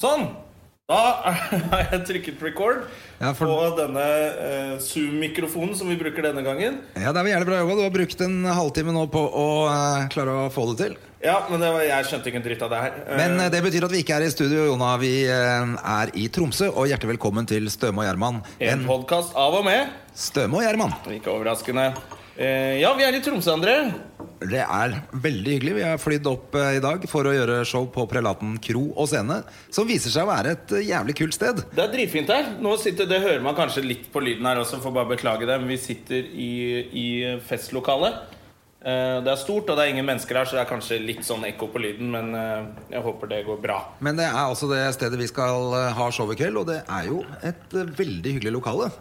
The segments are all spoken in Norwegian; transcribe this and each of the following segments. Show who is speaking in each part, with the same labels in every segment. Speaker 1: Sånn! Da har jeg trykket record
Speaker 2: Ja, for-
Speaker 1: på denne eh, Zoom-mikrofonen som vi bruker denne gangen.
Speaker 2: Ja, Det er vel jævlig bra jobba. Du har brukt en halvtime nå på å eh, klare å få det til.
Speaker 1: Ja, men det var, jeg skjønte ikke en dritt av det her. Eh,
Speaker 2: Men eh, det betyr at vi ikke er i studio, Jona. Vi eh, er i Tromsø. Og hjertelig velkommen til Støme og Gjerman.
Speaker 1: en
Speaker 2: En
Speaker 1: podkast av og med.
Speaker 2: Støme og Gjerman.
Speaker 1: Ikke overraskende. Eh, ja, vi er i Tromsø, André.
Speaker 2: Det er veldig hyggelig. Vi har flydd opp eh, i dag for å gjøre show på Prelaten kro og scene, som viser seg å være et eh, jævlig kult sted.
Speaker 1: Det er dritfint her. Nå sitter, Det hører man kanskje litt på lyden her også, får bare beklage det. Men vi sitter i, i festlokalet. Eh, det er stort, og det er ingen mennesker her, så det er kanskje litt sånn ekko på lyden. Men eh, jeg håper det går bra.
Speaker 2: Men det er altså det stedet vi skal eh, ha show i kveld, og det er jo et eh, veldig hyggelig lokale.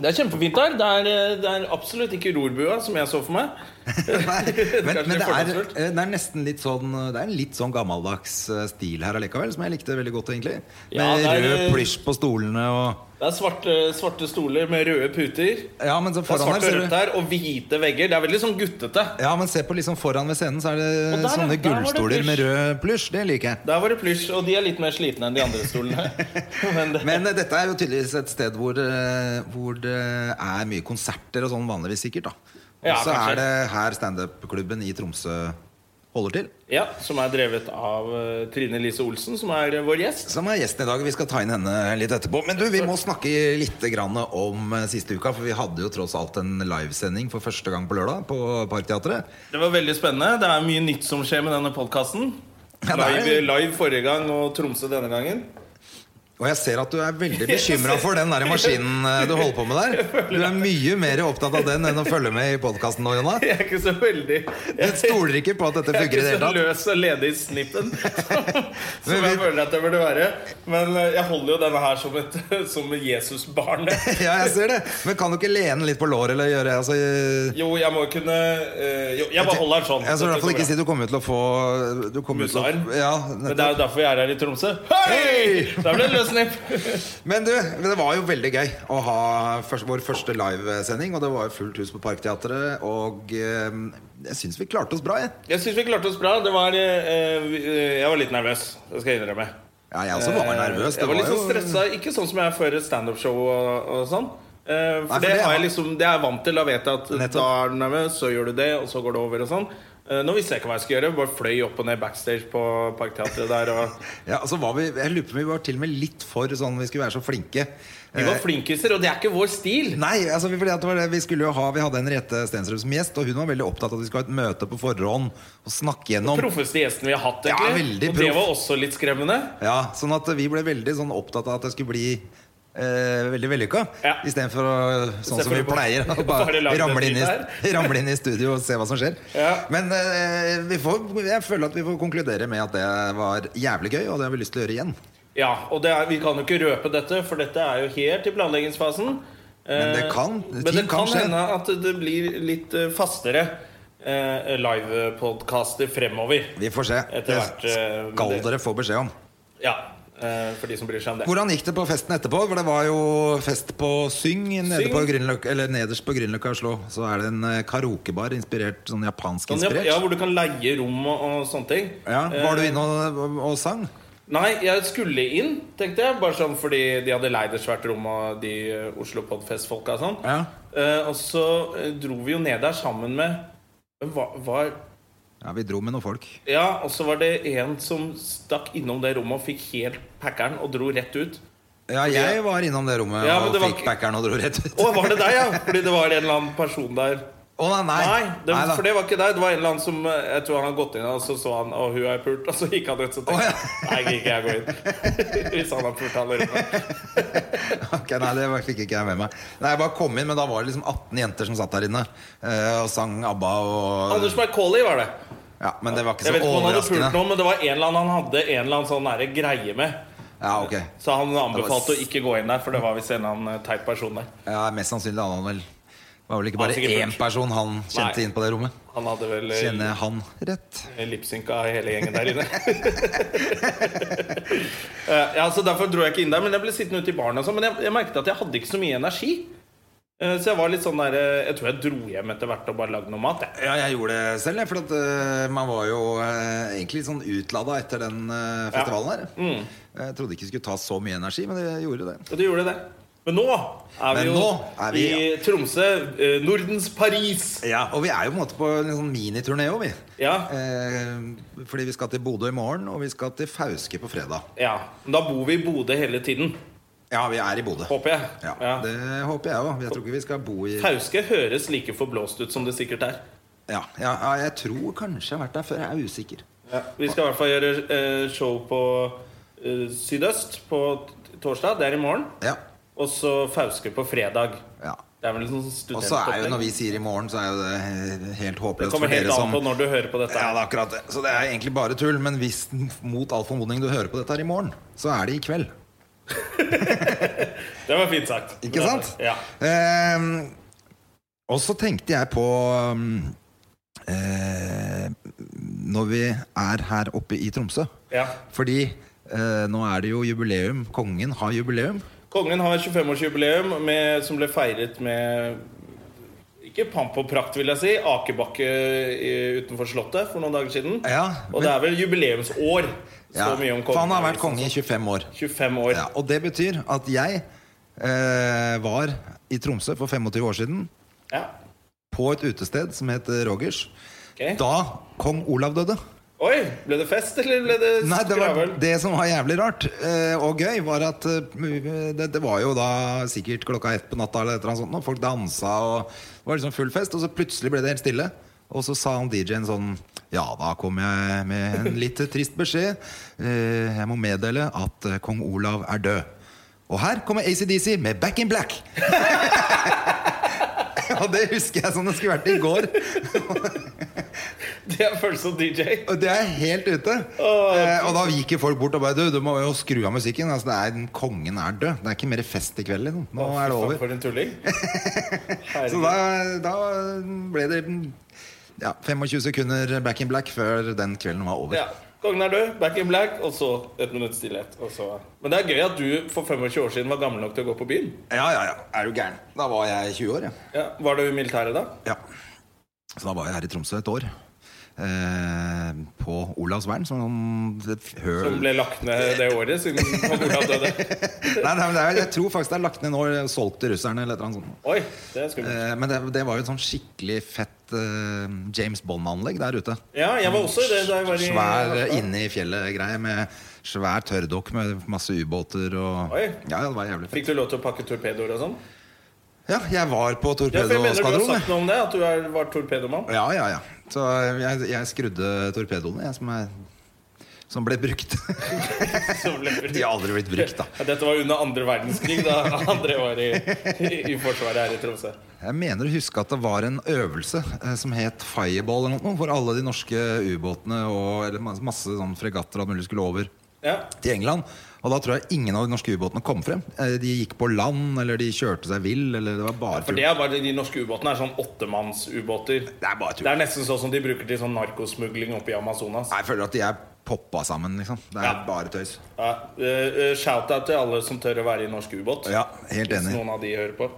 Speaker 1: Det er kjempefint her. Det er, eh, det er absolutt ikke rorbua, som jeg så for meg.
Speaker 2: Nei, men,
Speaker 1: Kanskje
Speaker 2: men det, er,
Speaker 1: fordomsfullt.
Speaker 2: eh, det er nesten litt sånn eh, Det er en litt sånn gammeldags eh, stil her allikevel, som jeg likte veldig godt, egentlig. Med
Speaker 1: Ja, det er, eh,
Speaker 2: rød plysj på stolene og
Speaker 1: Det er svarte, svarte stoler med røde puter.
Speaker 2: Ja, men så
Speaker 1: Det er
Speaker 2: foran her
Speaker 1: svart og
Speaker 2: ser
Speaker 1: rødt
Speaker 2: du
Speaker 1: her, og hvite vegger. Det er veldig sånn guttete.
Speaker 2: Ja, men se på liksom foran ved scenen, så er
Speaker 1: Og
Speaker 2: det
Speaker 1: der,
Speaker 2: sånne
Speaker 1: ja, der var det
Speaker 2: gullstoler med
Speaker 1: plysj.
Speaker 2: rød plysj. Det liker jeg.
Speaker 1: Der var det plysj, og de er litt mer slitne enn de andre stolene. Men det,
Speaker 2: Men eh, dette er jo tydeligvis et sted hvor, eh, hvor det er mye konserter og sånn vanligvis, sikkert. da
Speaker 1: Ja,
Speaker 2: Og så
Speaker 1: kanskje.
Speaker 2: er det her standup-klubben i Tromsø holder til.
Speaker 1: ja, som er drevet av eh, Trine Lise Olsen, som er eh, vår gjest.
Speaker 2: Som er gjesten i dag. Vi skal ta inn henne litt etterpå. Men du, vi må snakke litt grann om eh, siste uka, for vi hadde jo tross alt en livesending for første gang på lørdag på Parkteatret.
Speaker 1: Det var veldig spennende. Det er mye nytt som skjer med denne podkasten.
Speaker 2: Ja, det er-
Speaker 1: Live, live forrige gang og Tromsø denne gangen.
Speaker 2: Og jeg ser at du er veldig bekymra for den der maskinen eh, du holder på med der. Du er mye mer opptatt av den enn å følge med i podkasten nå, Jonna.
Speaker 1: Jeg er ikke så veldig
Speaker 2: Du stoler ikke på at dette
Speaker 1: Jeg er
Speaker 2: funker i det
Speaker 1: ikke så
Speaker 2: hele tatt.
Speaker 1: løs og ledig i snippen som
Speaker 2: Men
Speaker 1: jeg
Speaker 2: vi-
Speaker 1: føler at jeg burde være. Men eh, jeg holder jo denne her som et som Jesusbarnet.
Speaker 2: Ja, jeg ser det. Men kan du ikke lene litt på låret eller gjøre altså, eh,
Speaker 1: Jo, jeg må kunne eh, Jo, jeg bare holder den sånn.
Speaker 2: Jeg skal i hvert fall ikke si
Speaker 1: Dette går
Speaker 2: du kommer
Speaker 1: bra.
Speaker 2: til å få du kommer til å-
Speaker 1: Musarm?
Speaker 2: Ja,
Speaker 1: Men det er
Speaker 2: nettopp.
Speaker 1: jo derfor jeg er her i Tromsø. Hei! Der ble det løssnipp.
Speaker 2: Men du, det var jo veldig gøy å ha først, vår første livesending. Og det var jo fullt hus på Parkteatret. Og eh, jeg syns vi klarte oss bra, jeg.
Speaker 1: Jeg syns vi klarte oss bra. Det var, eh, vi- eh, jeg var litt nervøs. Det skal jeg innrømme.
Speaker 2: Ja, jeg også var nervøs.
Speaker 1: jeg var litt sånn
Speaker 2: jo-
Speaker 1: stressa. Ikke sånn som jeg er før et standup-show og, og sånn. Eh, for
Speaker 2: for
Speaker 1: det,
Speaker 2: det
Speaker 1: har
Speaker 2: har-
Speaker 1: jeg liksom, det er jeg vant til. Da vet jeg at
Speaker 2: Nettopp.
Speaker 1: da er du nervøs, så gjør du det, og så går det over og sånn. Eh, nå visste jeg ikke hva jeg skulle gjøre. Jeg Bare fløy opp og ned backstage på Parkteatret der. Og
Speaker 2: Ja, altså var vi, jeg lurer på om vi var til og med litt for sånn Vi skulle være så flinke.
Speaker 1: vi var flinkiser, og det er ikke vår stil.
Speaker 2: Eh. Nei, altså vi, fordi at det var det, vi skulle jo ha Vi hadde Henriette Stensrup som gjest, og hun var veldig opptatt av at vi skulle ha et møte på forhånd og snakke gjennom.
Speaker 1: proffeste gjesten vi har hatt.
Speaker 2: Ja,
Speaker 1: egentlig.
Speaker 2: veldig
Speaker 1: og det
Speaker 2: proff.
Speaker 1: var også litt skremmende.
Speaker 2: Ja, sånn at vi ble veldig sånn opptatt av at det skulle bli eh, veldig vellykka.
Speaker 1: Ja.
Speaker 2: Istedenfor å sånn som vi
Speaker 1: Istedenfor å
Speaker 2: pleier. å
Speaker 1: bare
Speaker 2: Bare
Speaker 1: lage
Speaker 2: ramle
Speaker 1: det
Speaker 2: inn, i,
Speaker 1: dritt
Speaker 2: ramle inn i studio og se hva som skjer.
Speaker 1: Ja.
Speaker 2: Men eh, vi får, jeg føler at vi får konkludere med at det var jævlig gøy, og det har vi lyst til å gjøre igjen.
Speaker 1: Ja, og det er, Vi kan jo ikke røpe dette, for dette er jo helt i planleggingsfasen.
Speaker 2: Men det kan-
Speaker 1: Eh, men
Speaker 2: ting
Speaker 1: det
Speaker 2: kan
Speaker 1: kan
Speaker 2: skje.
Speaker 1: hende at det blir litt eh, fastere eh, livepodkaster fremover.
Speaker 2: Vi får se.
Speaker 1: Etter hvert,
Speaker 2: det
Speaker 1: eh, men
Speaker 2: skal
Speaker 1: det-
Speaker 2: dere få beskjed om.
Speaker 1: Ja, eh, For de som bryr seg om det.
Speaker 2: Hvordan gikk det på festen etterpå? For det var jo fest på Syng, nede
Speaker 1: Syng.
Speaker 2: På Grünerløk- eller nederst på Grünerløkka i Oslo. Så er det en eh, karaokebar inspirert, sånn japansk
Speaker 1: Sånn, ja,
Speaker 2: inspirert.
Speaker 1: ja, Hvor Eh. du kan leie rom og, og sånne ting.
Speaker 2: Ja, Var du inne og, og sang?
Speaker 1: Nei, jeg skulle inn, tenkte jeg. Bare sånn fordi de hadde leid et svært rom av de eh, Oslo Podfest-folka og sånn.
Speaker 2: Ja.
Speaker 1: Eh, og så eh, dro vi jo ned der sammen med Hvem var, var
Speaker 2: Ja, vi dro med noen folk.
Speaker 1: Ja, og så var det en som stakk innom det rommet og fikk helt packeren og dro rett ut.
Speaker 2: Ja, jeg var innom det rommet
Speaker 1: Ja, men
Speaker 2: og
Speaker 1: det var
Speaker 2: fikk
Speaker 1: ikke-
Speaker 2: packeren og dro rett ut.
Speaker 1: Å, var det deg, ja? Fordi det var en eller annen person der.
Speaker 2: Å nei, nei.
Speaker 1: Nei, det,
Speaker 2: Nei da.
Speaker 1: for det var ikke deg. Det var en eller annen som eh, Jeg tror han hadde gått inn, og så så han Å, hun er pult. Og så gikk han ut, så tenkte
Speaker 2: Å, ja.
Speaker 1: jeg Nei, ikke jeg går inn. Hvis han har pult alle rommene.
Speaker 2: Ok, nei, det var- fikk ikke jeg med meg. Nei, Jeg bare kom inn, men da var det liksom 18 jenter som satt der inne eh, og sang ABBA og
Speaker 1: Anders Mercoli var det.
Speaker 2: Ja, men det var ikke
Speaker 1: Jeg
Speaker 2: så
Speaker 1: vet ikke om han hadde pult
Speaker 2: overraskende.
Speaker 1: noen, men det var en eller annen han hadde en eller annen sånn nære greie med.
Speaker 2: Ja, ok
Speaker 1: Så han
Speaker 2: Det
Speaker 1: anbefalte
Speaker 2: var-
Speaker 1: å ikke gå inn der, for det var visst en eller annen eh, teit person der.
Speaker 2: ja, Mest sannsynlig hadde han vel Det var vel ikke
Speaker 1: Han
Speaker 2: bare
Speaker 1: sikkert
Speaker 2: én
Speaker 1: pult.
Speaker 2: person han kjente
Speaker 1: Nei.
Speaker 2: inn på det rommet.
Speaker 1: Han hadde vel eh,
Speaker 2: Kjenner jeg han rett?
Speaker 1: lipsynka hele gjengen der inne. Eh, ja, så Derfor dro jeg ikke inn der, men jeg ble sittende ute i baren. Og sånn, men jeg, jeg merket at jeg hadde ikke så mye energi. Eh, så jeg var litt sånn der eh, Jeg tror jeg dro hjem etter hvert og bare lagde noe mat. Jeg.
Speaker 2: Ja, jeg gjorde det selv, jeg, for at, eh, man var jo eh, egentlig litt sånn utlada etter den eh, festivalen her.
Speaker 1: Mm.
Speaker 2: Jeg trodde ikke det skulle ta så mye energi, men det gjorde det.
Speaker 1: Og du gjorde det. Men nå er vi
Speaker 2: Men
Speaker 1: jo
Speaker 2: nå er vi,
Speaker 1: i Tromsø. eh, Nordens Paris.
Speaker 2: Ja, Og vi er jo på en måte på en sånn miniturné òg, vi.
Speaker 1: Ja.
Speaker 2: Eh, fordi vi skal til Bodø i morgen, og vi skal til Fauske på fredag.
Speaker 1: ja. Men da bor vi i Bodø hele tiden,
Speaker 2: Ja, vi er i Bodø.
Speaker 1: håper jeg.
Speaker 2: Ja,
Speaker 1: Ja.
Speaker 2: Det håper jeg òg. Jeg tror ikke vi skal bo i ja,
Speaker 1: Fauske høres like forblåst ut som det sikkert er.
Speaker 2: ja, ja, Jeg tror kanskje jeg har vært der før. Jeg er usikker.
Speaker 1: Vi skal i hvert fall gjøre eh, show på eh, Sydøst på t- torsdag. Det er i morgen.
Speaker 2: Ja,
Speaker 1: Og så Fauske på fredag.
Speaker 2: ja
Speaker 1: Det er vel en sånn
Speaker 2: Og så er jo når
Speaker 1: studentopplegg.
Speaker 2: vi sier i morgen, så er jo det eh, helt
Speaker 1: Det
Speaker 2: håpløst
Speaker 1: kommer
Speaker 2: for
Speaker 1: helt
Speaker 2: dere
Speaker 1: an
Speaker 2: som
Speaker 1: på når du hører på dette.
Speaker 2: Ja, det er akkurat det. Så det er egentlig bare tull. Men hvis mot all formodning du hører på dette her i morgen, så er det i kveld.
Speaker 1: Det var fint sagt.
Speaker 2: Ikke sant?
Speaker 1: Ja.
Speaker 2: Ehm, og så tenkte jeg på mm, eh, Når vi er her oppe i Tromsø.
Speaker 1: ja.
Speaker 2: Fordi eh, nå er det jo jubileum. Kongen har jubileum.
Speaker 1: Kongen har 25-årsjubileum med- som ble feiret med ikke pamp og prakt, vil jeg si. Akebakke i- utenfor Slottet for noen dager siden.
Speaker 2: Ja,
Speaker 1: og det er vel jubileumsår. Så
Speaker 2: Ja,
Speaker 1: mye om kongen. liksom.
Speaker 2: for han har vært konge i 25 år.
Speaker 1: 25 år.
Speaker 2: Ja, og det betyr at jeg eh, var i Tromsø for 25 år siden
Speaker 1: Ja.
Speaker 2: på et utested som het Rogers.
Speaker 1: ok.
Speaker 2: Da kong Olav døde.
Speaker 1: Oi! Ble det fest, eller ble det
Speaker 2: Nei, det, var,
Speaker 1: skravel?
Speaker 2: det som var jævlig rart eh, og gøy, var at eh, det, det var jo da sikkert klokka ett på natta, eller et eller annet sånt, og folk dansa, og det var liksom full fest, og så plutselig ble det helt stille. Og så sa han DJ-en sånn Ja, da kom jeg med en litt trist beskjed. Eh, jeg må meddele at eh, kong Olav er død. Og her kommer ACDC med Back in Black. og det husker jeg som det skulle vært i går.
Speaker 1: Det er følelse som DJ.
Speaker 2: Og Det er helt ute. eh, og da gikk jo folk bort og bare Du, du må jo skru av musikken. Altså, det er, kongen er død. Det er ikke mer fest i kveld. Liksom. Nå er det over.
Speaker 1: For en tulling.
Speaker 2: Så
Speaker 1: Herregud.
Speaker 2: da, da ble det ja, 25 sekunder back in black før den kvelden var over.
Speaker 1: Ja. Kongen er død, back in black, og så et minutts stillhet. Og så. Men det er gøy at du for 25 år siden var gammel nok til å gå på byen.
Speaker 2: ja, ja. ja. Er du gæren? Da var jeg 20 år, ja.
Speaker 1: Ja. Var du i militæret da?
Speaker 2: ja. Så da var jeg her i Tromsø et år. Eh, på Olavsvern, som det høl
Speaker 1: Som ble lagt ned det året siden kong Olav døde?
Speaker 2: Nei, nei, men det er, Jeg tror faktisk det er lagt ned nå, solgt til russerne eller et eller annet sånt.
Speaker 1: Oi, det er skummelt.
Speaker 2: Eh, Men det, det var jo et sånn skikkelig fett eh, James Bond-anlegg der ute.
Speaker 1: Ja, jeg var også i det da jeg var i
Speaker 2: Svær eh, inne i fjellet-greie med svær tørrdokk med masse ubåter og
Speaker 1: Oi.
Speaker 2: Ja, det var jævlig fett.
Speaker 1: Fikk du lov til å pakke torpedoer og sånn?
Speaker 2: Ja, jeg var på
Speaker 1: Ja, for jeg mener du har sagt
Speaker 2: torpedoskvadronen.
Speaker 1: noe om det, at du er, var torpedomann.
Speaker 2: Ja, ja, ja. Så jeg, jeg skrudde torpedoene, jeg, som, er, som ble brukt.
Speaker 1: Så ble det-
Speaker 2: De har aldri blitt brukt, da.
Speaker 1: Ja, Dette var under andre verdenskrig, da andre var i, i, i Forsvaret her i Tromsø.
Speaker 2: Jeg mener å huske at det var en øvelse eh, som het Fireball eller noe, hvor alle de norske ubåtene og eller masse, masse sånn fregatter og alt mulig skulle over.
Speaker 1: Ja.
Speaker 2: til England. Og da tror jeg ingen av de norske ubåtene kom frem. Eh, De gikk på land, eller de kjørte seg vill, eller det var bare
Speaker 1: For det er bare De norske ubåtene er sånn åttemannsubåter.
Speaker 2: Det er bare tull.
Speaker 1: Det er nesten sånn som de bruker til sånn narkosmugling oppe i Amazonas.
Speaker 2: Jeg føler at de er poppa sammen, liksom. Det er
Speaker 1: Ja.
Speaker 2: bare tøys.
Speaker 1: Ja, eh, eh, Shout-out til alle som tør å være i norsk ubåt.
Speaker 2: Ja, helt
Speaker 1: Hvis
Speaker 2: enig.
Speaker 1: noen av de hører på.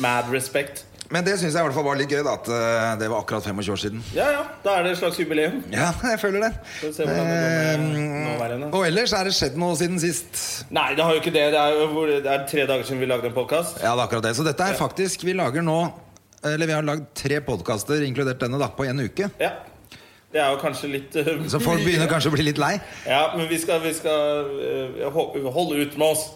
Speaker 1: Mad respect.
Speaker 2: Men det syns jeg i hvert fall var litt gøy, da. At eh, det var akkurat 25 år siden.
Speaker 1: Ja, ja, da er det et slags jubileum.
Speaker 2: Ja, jeg føler det.
Speaker 1: Skal vi se hvordan det går med
Speaker 2: Eh,
Speaker 1: nåværende.
Speaker 2: og ellers er det skjedd noe siden sist.
Speaker 1: Nei, det har jo ikke det. Det er, jo hvor, det er tre dager siden vi lagde en podkast.
Speaker 2: Ja, det er akkurat det. Så dette er faktisk Vi lager nå Eller vi har lagd tre podkaster, inkludert denne, da, på én uke.
Speaker 1: Ja. Det er jo kanskje litt eh,
Speaker 2: Så folk begynner kanskje å bli litt lei.
Speaker 1: Ja, men vi skal, vi skal eh, ho- holde ut med oss.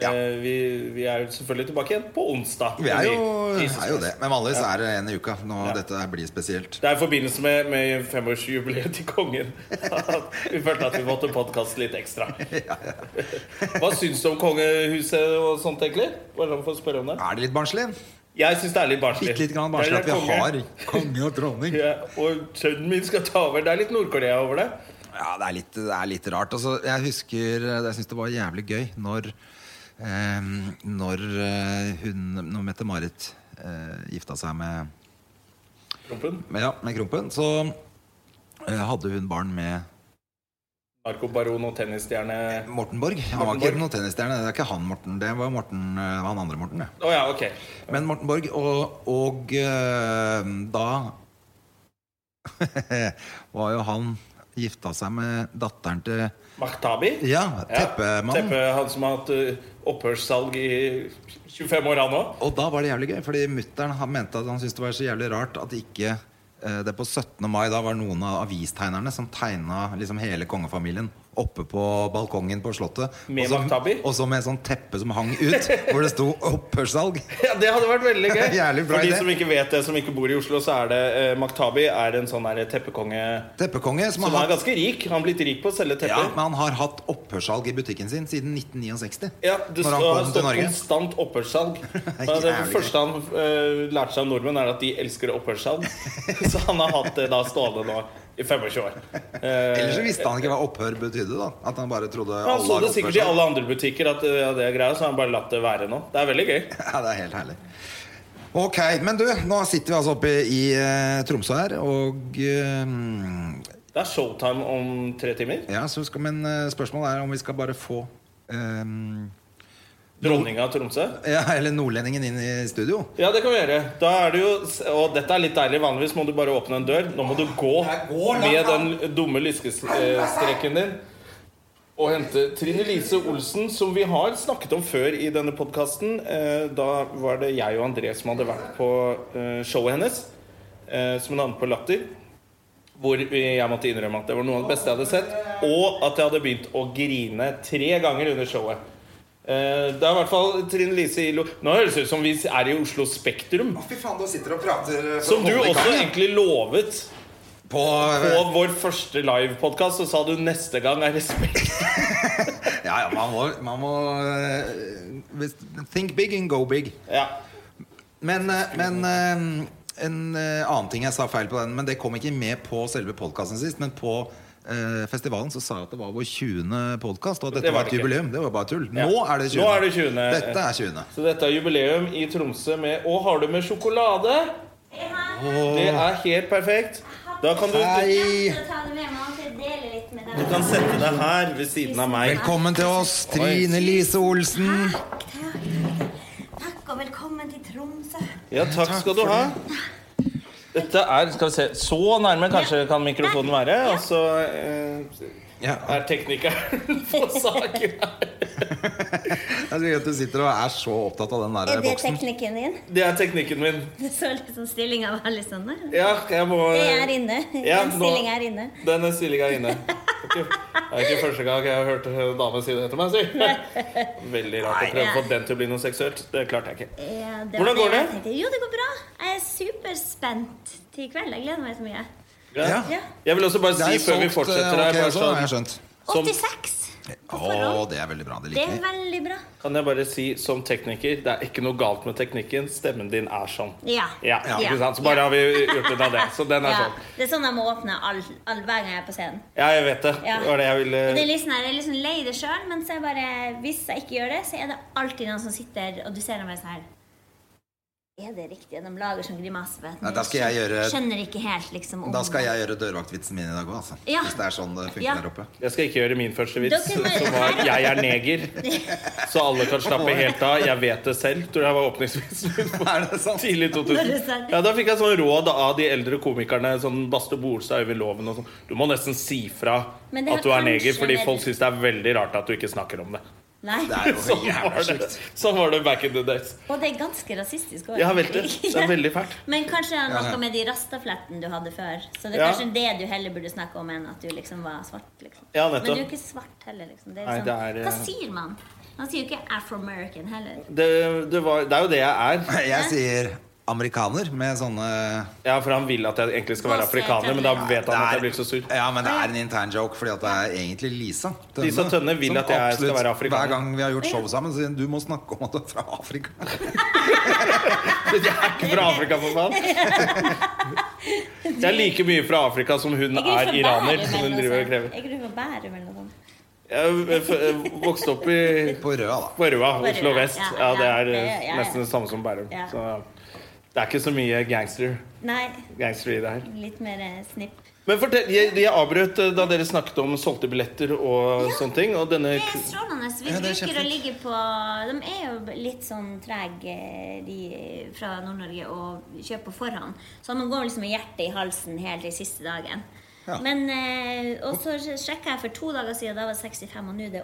Speaker 2: Ja.
Speaker 1: Eh, vi, vi er jo selvfølgelig tilbake igjen på onsdag.
Speaker 2: Vi er jo,
Speaker 1: Jesus
Speaker 2: er jo
Speaker 1: Christ.
Speaker 2: det. Men vanligvis er det en i uka. Nå, Dette her blir spesielt.
Speaker 1: Det er i forbindelse med, med femårsjubileet til kongen at vi følte at vi måtte podkaste litt ekstra. Hva syns du om kongehuset og sånt, egentlig? Bare for å spørre om det.
Speaker 2: Er det litt barnslig?
Speaker 1: Jeg syns det er litt barnslig.
Speaker 2: Bitte litt grann
Speaker 1: Det er
Speaker 2: barnslig at vi
Speaker 1: konge.
Speaker 2: har konge og dronning.
Speaker 1: Ja, og sønnen min skal ta over. Det er litt Nord-Korea over det.
Speaker 2: Ja, det er litt, det er litt rart. Altså, jeg husker eh, Jeg syns det var jævlig gøy når eh, Når eh, hun Når Mette-Marit eh, gifta seg med,
Speaker 1: Rumpen.
Speaker 2: med, ja, med Krompen, så eh, hadde hun barn med
Speaker 1: Narkobaron og tennisstjerne Å
Speaker 2: Morten Borg. Han var
Speaker 1: Morten
Speaker 2: ikke
Speaker 1: Borg.
Speaker 2: noen tennisstjerne. Det er ikke han Morten, det var Morten, eh, han andre Morten. Ja.
Speaker 1: ja, ok.
Speaker 2: Men Morten Borg, og, og eh, da var jo han gifta seg med datteren til
Speaker 1: Maktabi?
Speaker 2: Ja,
Speaker 1: Ja,
Speaker 2: Teppemannen.
Speaker 1: Teppe, han som har hatt uh, opphørssalg i 25 år, han òg.
Speaker 2: Og da var det jævlig gøy, fordi mutter'n mente at han syntes det var så jævlig rart at ikke eh, det på 17. mai da var noen av avistegnerne som tegna liksom hele kongefamilien oppe på balkongen på Slottet.
Speaker 1: Med
Speaker 2: og så-
Speaker 1: Maktabi?
Speaker 2: Og så med sånn teppe som hang ut, hvor det sto 'opphørssalg'.
Speaker 1: Ja, det hadde vært veldig gøy.
Speaker 2: Jævlig bra
Speaker 1: For de
Speaker 2: idé.
Speaker 1: som ikke vet det, som ikke bor i Oslo, så er det eh, Maktabi er en sånn der teppekonge
Speaker 2: Teppekonge som
Speaker 1: som
Speaker 2: har
Speaker 1: er
Speaker 2: hatt
Speaker 1: ganske rik. Han har blitt rik på å selge
Speaker 2: ja,
Speaker 1: tepper.
Speaker 2: men han har hatt opphørssalg i butikken sin siden 1969.
Speaker 1: Ja, det
Speaker 2: når
Speaker 1: sto-
Speaker 2: han
Speaker 1: har
Speaker 2: kom til
Speaker 1: stått
Speaker 2: Norge.
Speaker 1: konstant opphørssalg. Det, det
Speaker 2: Jævlig
Speaker 1: første han eh, lærte seg av nordmenn, er at de elsker opphørssalg. Så han har hatt det da stående nå i 25 år. Eh,
Speaker 2: Ellers så visste han ikke hva opphør betydde. da At han bare trodde
Speaker 1: han
Speaker 2: alle
Speaker 1: så
Speaker 2: har
Speaker 1: det sikkert i
Speaker 2: opphørssalg.
Speaker 1: alle andre butikker, at eh, ja, det er greia, så har han bare latt det være nå. Det er veldig gøy.
Speaker 2: Ja, det er helt herlig. Ok, men du, nå sitter vi altså oppe i eh, Tromsø her, og eh,
Speaker 1: Det er showtime om tre timer.
Speaker 2: Ja, så skal, men eh, spørsmålet er om vi skal bare få eh,
Speaker 1: Dronninga av Tromsø.
Speaker 2: Ja, eller nordlendingen inn i studio.
Speaker 1: Ja, det kan vi gjøre. Da er det jo, og dette er litt deilig. Vanligvis må du bare åpne en dør. Nå må du gå med den dumme lyskestreken din og hente Trine Lise Olsen, som vi har snakket om før i denne podkasten. Da var det jeg og André som hadde vært på eh, showet hennes, eh, som hun hadde på Latter. Hvor vi- jeg måtte innrømme at det var noe av det beste jeg hadde sett. Og at jeg hadde begynt å grine tre ganger under showet. Eh, Det er i hvert fall Trine Lise i lo- Nå høres det ut som vi er i Oslo Spektrum.
Speaker 2: Fy faen, du sitter og prater eh,
Speaker 1: Som du også egentlig lovet
Speaker 2: på, eh,
Speaker 1: på vår første livepodkast. Så sa du 'neste gang er det Spektrum'.
Speaker 2: Ja, ja, man må, man må eh, hvis- Think big and go big.
Speaker 1: Ja.
Speaker 2: Men, eh, men eh, en eh, annen ting jeg sa feil på den, men det kom ikke med på selve podkasten sist. Men på eh, festivalen så sa jeg at det var vår 20. podkast, og at dette
Speaker 1: Det var
Speaker 2: var et
Speaker 1: det ikke.
Speaker 2: jubileum. Det var bare tull.
Speaker 1: Ja.
Speaker 2: Nå er det 20.
Speaker 1: Nå er det 20.
Speaker 2: Dette er 20.
Speaker 1: Så dette er jubileum i Tromsø med Å, har du med sjokolade? Det er helt perfekt. Da kan du, du
Speaker 2: Hei!
Speaker 3: Så ta det med meg og så dele litt med deg.
Speaker 1: kan sette deg her ved siden av meg.
Speaker 2: Velkommen til oss, Trine Lise Olsen.
Speaker 3: Takk og velkommen til Tromsø.
Speaker 1: Ja, takk, skal du ha. Dette er skal vi se, Så nærme kanskje kan mikrofonen være. Og så eh,
Speaker 2: Ja,
Speaker 1: er teknikeren på saken her.
Speaker 2: jeg tror at du sitter og er så opptatt av den der
Speaker 3: Er det
Speaker 2: boksen.
Speaker 3: teknikken din?
Speaker 1: Det er teknikken min.
Speaker 3: Du så liksom stillinga var litt sånn. da.
Speaker 1: Ja, jeg må
Speaker 3: Jeg er inne.
Speaker 1: Eh, Ja,
Speaker 3: Den
Speaker 1: nå-
Speaker 3: stillinga er inne.
Speaker 1: Den er stillinga inne. Det er ikke- det er ikke første gang jeg har hørt en dame si det etter meg. Si. Veldig rart å prøve å få den til å bli noe seksuelt. Det klarte jeg ikke.
Speaker 3: Ja,
Speaker 1: Hvordan
Speaker 3: var
Speaker 1: går
Speaker 3: jeg
Speaker 1: det?
Speaker 3: tenkte. Jo, det går bra. Jeg er superspent til i kveld. Jeg gleder meg så mye.
Speaker 2: Ja.
Speaker 3: Ja.
Speaker 1: Jeg vil også bare
Speaker 2: Det er
Speaker 1: si før vi
Speaker 2: solgt,
Speaker 1: fortsetter
Speaker 2: eh,
Speaker 1: her
Speaker 2: ok,
Speaker 1: bare
Speaker 2: også, har jeg
Speaker 1: sånn,
Speaker 2: skjønt.
Speaker 1: Som-
Speaker 3: 86 på
Speaker 2: Å,
Speaker 3: forhånd.
Speaker 2: det er veldig bra. Det
Speaker 3: Det er
Speaker 2: liker vi.
Speaker 3: veldig bra.
Speaker 1: Kan jeg bare si som tekniker, det er ikke noe galt med teknikken. Stemmen din er sånn.
Speaker 3: Ja.
Speaker 1: Ja,
Speaker 3: Ja.
Speaker 1: ikke sant? Så bare
Speaker 3: Ja.
Speaker 1: har vi gjort ut av det. Så den er
Speaker 3: Ja.
Speaker 1: sånn.
Speaker 3: Det er sånn jeg må åpne all, all, hver gang jeg er på scenen.
Speaker 1: Ja, jeg vet det.
Speaker 3: Ja.
Speaker 1: Det var det jeg ville
Speaker 3: Det er
Speaker 2: Eh,
Speaker 3: litt sånn her, jeg er litt sånn lei det sjøl, men så er jeg bare, hvis jeg ikke gjør det, så er det alltid noen som sitter og du ser dem bare sånn her Er det riktig? De lager sånn grimase. vet du.
Speaker 2: Nei, da skal jeg gjøre-
Speaker 3: Skjønner ikke helt, liksom. om-
Speaker 2: Da skal jeg gjøre dørvaktvitsen min i dag òg, altså.
Speaker 3: Ja.
Speaker 2: Hvis det er sånn det funker
Speaker 3: Ja.
Speaker 2: der oppe.
Speaker 1: Jeg skal ikke gjøre min første vits,
Speaker 3: Dere må-
Speaker 1: som var 'jeg er neger'. Så alle kan slappe helt av. Jeg vet det selv, tror jeg var åpningsvitsen min. på
Speaker 2: Er det sant?
Speaker 1: Tidlig 2000. Ja, Da fikk jeg sånn råd av de eldre komikerne, sånn Baste Bolstad, Øyvind Loven og sånn. Du må nesten si fra
Speaker 3: Men det var
Speaker 1: at du er neger,
Speaker 3: kanskje
Speaker 1: fordi
Speaker 3: mer-
Speaker 1: folk syns det er veldig rart at du ikke snakker om det.
Speaker 3: Nei.
Speaker 2: Det er jo
Speaker 1: Sånn
Speaker 2: jævla
Speaker 1: var
Speaker 2: sjukt.
Speaker 1: det, sånn var det back in the days.
Speaker 3: Og det er ganske rasistisk òg.
Speaker 1: Ja, vel, det. Det er veldig fælt.
Speaker 3: Men kanskje det er
Speaker 2: Ja, ja.
Speaker 3: noe med de rastaflettene du hadde før. Så det er
Speaker 1: Ja.
Speaker 3: kanskje det du heller burde snakke om enn at du liksom var svart. Liksom.
Speaker 1: Ja,
Speaker 3: Men du er jo
Speaker 1: nettopp.
Speaker 3: ikke svart heller, liksom. Det er
Speaker 1: Nei,
Speaker 3: sånn,
Speaker 1: det er,
Speaker 3: Hva
Speaker 1: eh,
Speaker 3: sier man? Man sier jo ikke afro-american heller.
Speaker 1: Det, det, var, det er jo det jeg er.
Speaker 2: Jeg sier amerikaner med sånne
Speaker 1: Ja, for han vil at jeg egentlig skal være afrikaner, men da vet han at jeg blir så sur.
Speaker 2: Ja, men det er en intern joke, fordi at det er egentlig Lisa Tønne.
Speaker 1: Lisa Tønne vil
Speaker 2: som
Speaker 1: at jeg skal
Speaker 2: absolutt
Speaker 1: være afrikaner.
Speaker 2: Hver gang vi har gjort show sammen, så sier hun du må snakke om at du er fra Afrika.
Speaker 1: Jeg er ikke fra Afrika, for faen. Jeg er like mye fra Afrika som hun er iraner, som hun driver og krever.
Speaker 3: Jeg gruer meg bare mellom sånn.
Speaker 1: Jeg f- vokste opp i
Speaker 2: På Røa, da.
Speaker 1: På Røa,
Speaker 3: På
Speaker 1: Oslo
Speaker 3: Røa,
Speaker 1: vest.
Speaker 3: ja,
Speaker 1: Ja, det
Speaker 3: ja,
Speaker 1: er
Speaker 3: det-
Speaker 1: eh,
Speaker 3: ja, ja.
Speaker 1: nesten det samme som Bærum.
Speaker 3: Ja.
Speaker 1: Så det er ikke så mye gangster,
Speaker 3: Nei,
Speaker 1: gangster i det her.
Speaker 3: litt mer eh, snipp.
Speaker 1: Men fortell, jeg, jeg avbrøt eh, da dere snakket om solgte billetter og sånne ting. Og denne
Speaker 3: Det er strålende. Vi
Speaker 2: Ja, det er
Speaker 3: bruker å
Speaker 2: kjempefint.
Speaker 3: ligge på De er jo litt sånn trege, de fra Nord-Norge, å kjøpe på forhånd. Så man går liksom med hjertet i halsen helt til siste dagen.
Speaker 2: Ja.
Speaker 3: Men, eh, og så sjekka jeg for to dager siden, da var det 65, og nå er det